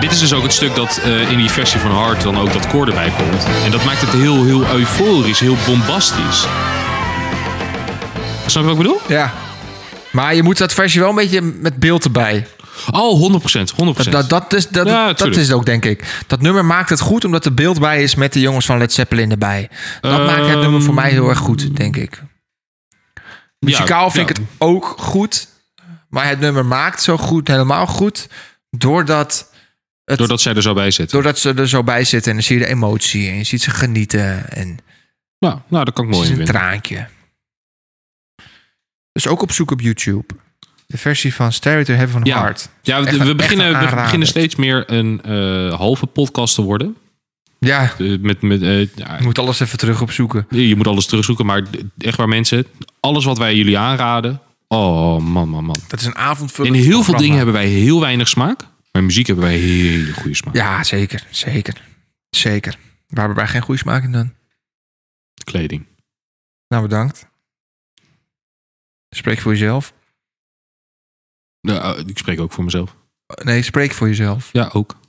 dit is dus ook het stuk dat eh, in die versie van Hart dan ook dat koor erbij komt. En dat maakt het heel, heel euforisch, heel bombastisch. Snap je wat ik bedoel?
Ja. Maar je moet dat versje wel een beetje met beeld erbij.
Oh, 100%. 100%.
Dat, dat, is, dat,
Ja,
dat
tuurlijk.
is het ook, denk ik. Dat nummer maakt het goed omdat er beeld bij is met de jongens van Led Zeppelin erbij. Dat maakt het nummer voor mij heel erg goed, denk ik. Muzikaal vind ik
ja. nou.
het ook goed. Maar het nummer maakt zo goed, helemaal goed. Doordat, het, doordat,
Doordat zij er zo bij zitten.
ze er zo bij zitten. En dan zie je de emotie. En je ziet ze genieten. En
Nou, nou, dat kan ik
het
mooi
is
in
een
vinden.
traantje. Dus ook op zoek op YouTube. De versie van Stereo to Heaven
Ja.
Heart.
Ja,
Echt
we,
een-
we
echt een
beginnen, we
aanrader.
beginnen steeds meer een eh, halve podcast te worden.
Ja,
Eh, met, met, eh, ja,
je moet alles even terug opzoeken.
je moet alles terugzoeken, maar echt waar mensen, alles wat wij jullie aanraden. Oh man, man, man.
Dat is een avondvullend
In heel veel
programma.
dingen hebben wij heel weinig smaak. Maar in muziek hebben wij hele goede smaak.
Ja, zeker. Zeker. Zeker. Waar hebben wij geen goede smaak in dan?
Kleding.
Nou, bedankt. Spreek voor jezelf.
Nou, eh, ik spreek ook voor mezelf.
Nee, spreek voor jezelf.
Ja, ook.
Vind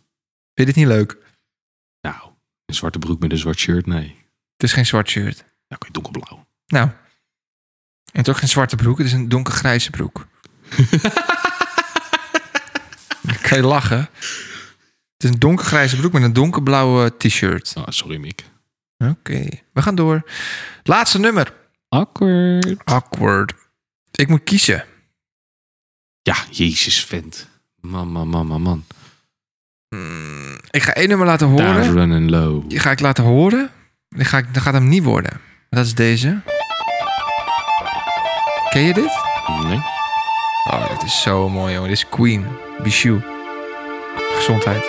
je dit niet leuk?
Nou, een zwarte broek met een zwart shirt, nee.
Het is geen zwart shirt.
Nou, kan je donkerblauw.
Nou. En het is ook geen zwarte broek. Het is een donkergrijze broek. Dan kan je lachen. Het is een donkergrijze broek met een donkerblauwe t-shirt.
Oh, sorry, Mick.
Oké. We gaan door. Laatste nummer.
Awkward.
Awkward. Ik moet kiezen.
Ja, jezus, vent. Man, man, man, man, man.
Ik ga één nummer laten horen.
Down, run and low.
Die ga ik laten horen. Die ga ik, dat gaat hem niet worden. Dat is deze. Ken je dit?
Nee?
Oh, dit is zo mooi, jongen. Dit is Queen. Bichou. Gezondheid.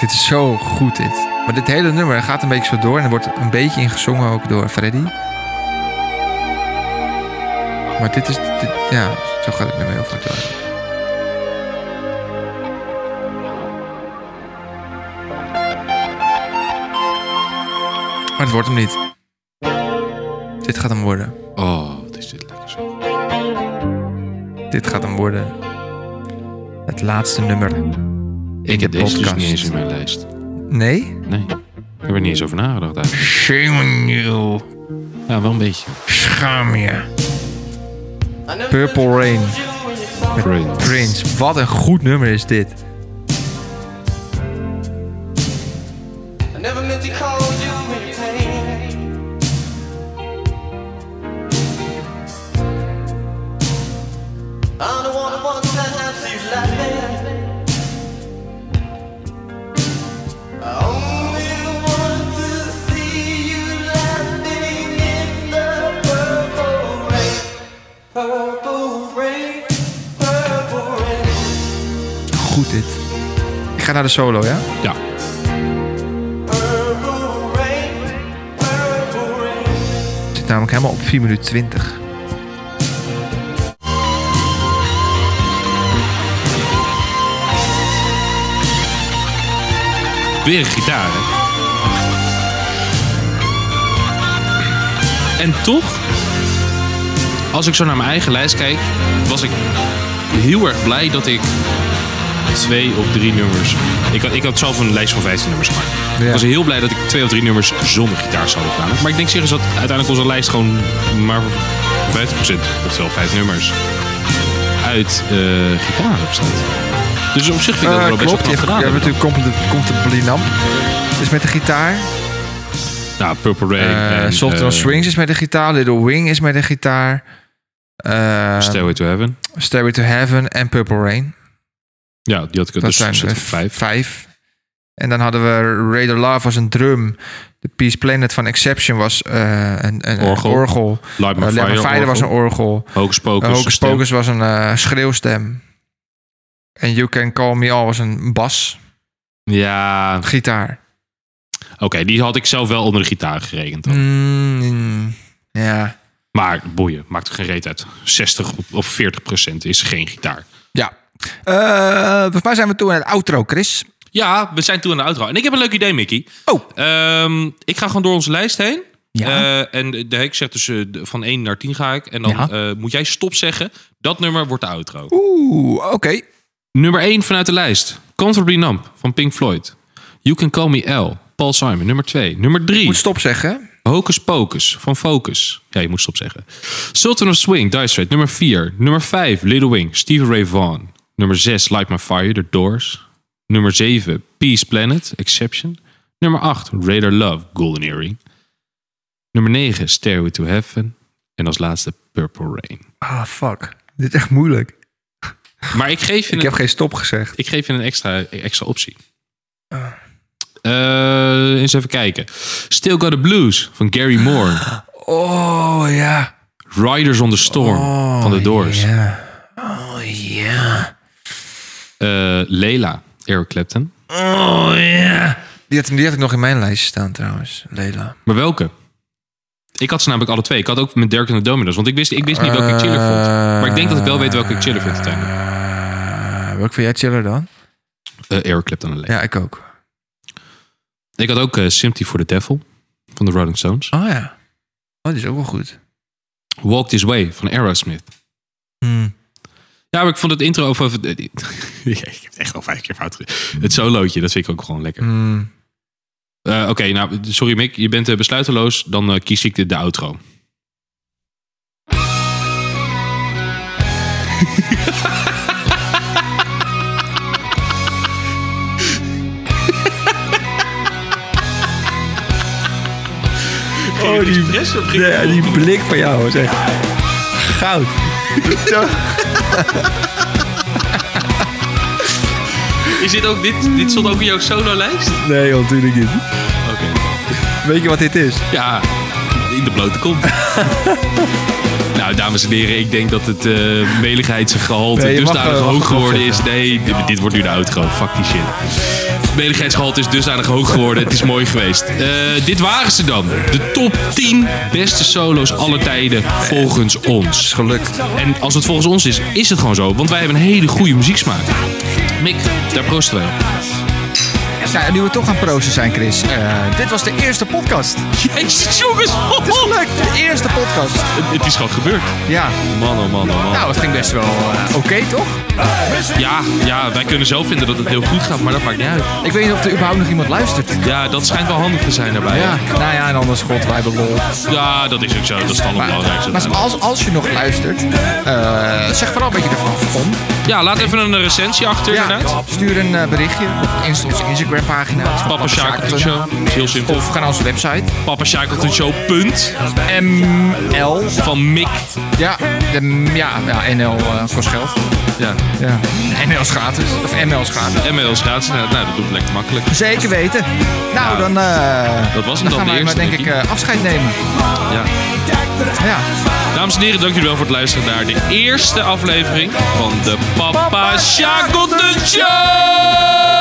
Dit is zo goed, dit. Maar dit hele nummer gaat een beetje zo door. En er wordt een beetje ingezongen ook door Freddy. Maar dit is... dit- ja, zo gaat het nummer heel vaak door. Maar het wordt hem niet. Dit gaat hem worden.
Oh, wat is dit lekker zo.
Dit gaat hem worden. Het laatste nummer.
Ik heb
de
deze dus
podcast.
niet eens in mijn lijst.
Nee?
Nee. Ik heb er niet eens over nagedacht eigenlijk.
Shame on you.
Ja, wel een beetje.
Schaam je. Purple Rain.
Prince.
Prince. Wat een goed nummer is dit.
I never meant to cause you any pain. I'm the one who wants to have you laughing. I only want to see you laughing in the purple rain. Purple rain, purple rain.
Goed dit. Ik ga naar de solo, ja?
Ja.
Purple rain, purple rain.
Het zit namelijk helemaal op 4 minuten 20.
Weer een gitaar, hè? En toch, als ik zo naar mijn eigen lijst kijk, was ik heel erg blij dat ik twee of drie nummers... Ik had, ik had zelf een lijst van 15 nummers gemaakt. Ik was heel blij dat ik twee of drie nummers zonder gitaar zou hebben gedaan. Maar ik denk serieus dat uiteindelijk onze lijst gewoon maar 50%, oftewel vijf nummers, uit eh, gitaar bestaat. Dus op zich vind ik dat
Eh,
wel best wel knap
klopt, je hebt, je
gedaan.
hebt
hebben.
natuurlijk compl- Comfortably Numb. Is met de gitaar.
Nou, Purple Rain.
Eh
en,
Soft
eh,
on Swings is met de gitaar. Little Wing is met de gitaar. Eh
Stairway to Heaven.
Stairway to Heaven en Purple Rain.
Ja, die had ik
Dat
dus
zijn
zit
er
op vijf.
En dan hadden we Raider Love was een drum. De Peace Planet van Exception was eh, een, een
Orgel.
Een orgel.
Light My
Eh, Let My
Fire,
Fire was een orgel.
Hocus Pocus.
Eh, Hocus
stem.
Pocus was een eh, schreeuwstem. En You Can Call Me All was een basgitaar.
Ja, oké, die had ik zelf wel onder de gitaar gerekend. dan.
Mm, ja.
Maar boeien, maakt er geen reet uit. 60 of 40 procent is geen gitaar.
Ja. Eh, volgens mij zijn we toe aan het outro, Chris.
Ja, we zijn toe aan de outro. En ik heb een leuk idee, Mickey.
Oh.
Ehm, ik ga gewoon door onze lijst heen.
Ja.
Eh, en de hek zegt dus eh, de- van 1 naar 10 ga ik. En dan
Ja.
eh, moet jij stop zeggen. Dat nummer wordt de outro.
Oeh, oké.
Nummer 1 vanuit de lijst. Comfortably Numb van Pink Floyd. You Can Call Me L. Paul Simon, nummer 2. Nummer 3.
Moet stop zeggen. hè?
Hocus Pocus van Focus. Ja, je moest stop zeggen. Sultan of Swing, Dire Straits, nummer 4. Nummer 5, Little Wing, Stevie Ray Vaughan. Nummer 6, Light My Fire, The Doors. Nummer 7, Peace Planet, Exception. Nummer 8, Raider Love, Golden Earring. Nummer 9, Stairway to Heaven. En als laatste, Purple Rain.
Ah, fuck. Dit is echt moeilijk.
Maar ik geef je
Ik
een,
heb geen stop gezegd.
ik geef je een extra, extra optie. Eh, eens even kijken. Still Got the Blues van Gary Moore.
Oh, ja.
Riders on the Storm
Oh,
van The Doors.
Ja. Oh, ja.
Eh, Lela, Eric Clapton.
Oh, ja. Die had, die had ik nog in mijn lijstje staan trouwens. Lela.
Maar welke? Ik had ze namelijk alle twee. Ik had ook met Dirk en de Domino's. Want ik wist, ik wist niet welke ik chiller vond. Maar ik denk dat ik wel weet welke ik chiller vind uiteindelijk.
Eh, welke vind jij chiller dan?
Eh Eric Clapton en Lela.
Ja, ik ook.
Ik had ook eh Sympathy for the Devil van de Rolling Stones.
Oh, ja. Oh, die is ook wel goed.
Walk This Way van Aerosmith.
Hmm.
Ja, maar ik vond het intro over... over- eh, ik heb het echt al vijf keer fout gedaan. Het solootje, dat vind ik ook gewoon lekker.
Hmm.
Eh, Oké, nou, sorry Mick, je bent eh, besluiteloos. Dan eh, kies ik de, de outro. Oh, die press op ging.
Ja, die blik van jou is echt goud.
Is dit ook dit? Dit stond ook in jouw solo-lijst? Oké.
Nee, natuurlijk niet. Weet je wat dit is?
Ja, in de blote kont. nou, dames en heren, ik denk dat het eh meligheidsgehalte
Nee, je mag,
dusdanig
eh, mag
hoog
erop
geworden is.
zetten.
Nee, dit, dit wordt nu de outro. Fuck die shit. Het meligheidsgehalte is dusdanig hoog geworden. Het is mooi geweest. Eh, dit waren ze dan. De top 10 beste solo's aller tijden volgens ons.
Is gelukt.
En als het volgens ons is, is het gewoon zo. Want wij hebben een hele goede muzieksmaak. Mick, daar proosten wij op.
Nou, nu we toch aan proosten zijn, Chris. eh, dit was de eerste podcast.
Jezus, jongens.
Het is gelukt. De eerste podcast.
Het is gewoon gebeurd.
Ja.
Man, oh man, oh man.
Nou, het ging best wel eh, oké, toch?
Ja, ja, wij kunnen zelf vinden dat het heel goed gaat, maar dat maakt niet uit.
Ik weet niet of er überhaupt nog iemand luistert.
Ja, dat schijnt wel handig te zijn daarbij.
Ja, nou ja, en anders god, wij hebben lol.
Ja, dat is ook zo. Dat is het allerbelangrijkste.
Maar als, als je nog luistert, eh, zeg vooral wat je ervan vond.
Ja, laat even een recensie achter inderdaad.
Ja, stuur een eh, berichtje op inst- onze Instagram pagina.
Papa Shackleton Show. Dat is heel simpel.
Of ga naar onze website.
Papa Shackleton Show. Punt.
ML.
Van Mick.
Ja, de, ja, ja NL eh, kost geld.
Ja.
Ja. NL is gratis. Of ML is gratis.
En met ons gratis. Nou, nou, dat doet het lekker makkelijk.
Zeker weten. Nou, dan, eh,
Dat was hem dan,
dan
de
gaan wij maar
eerste,
denk
denk
ik
ik.
eh, afscheid nemen.
Ja.
Ja.
Dames en heren, dank jullie wel voor het luisteren naar de eerste aflevering van de Papa Shackleton Show.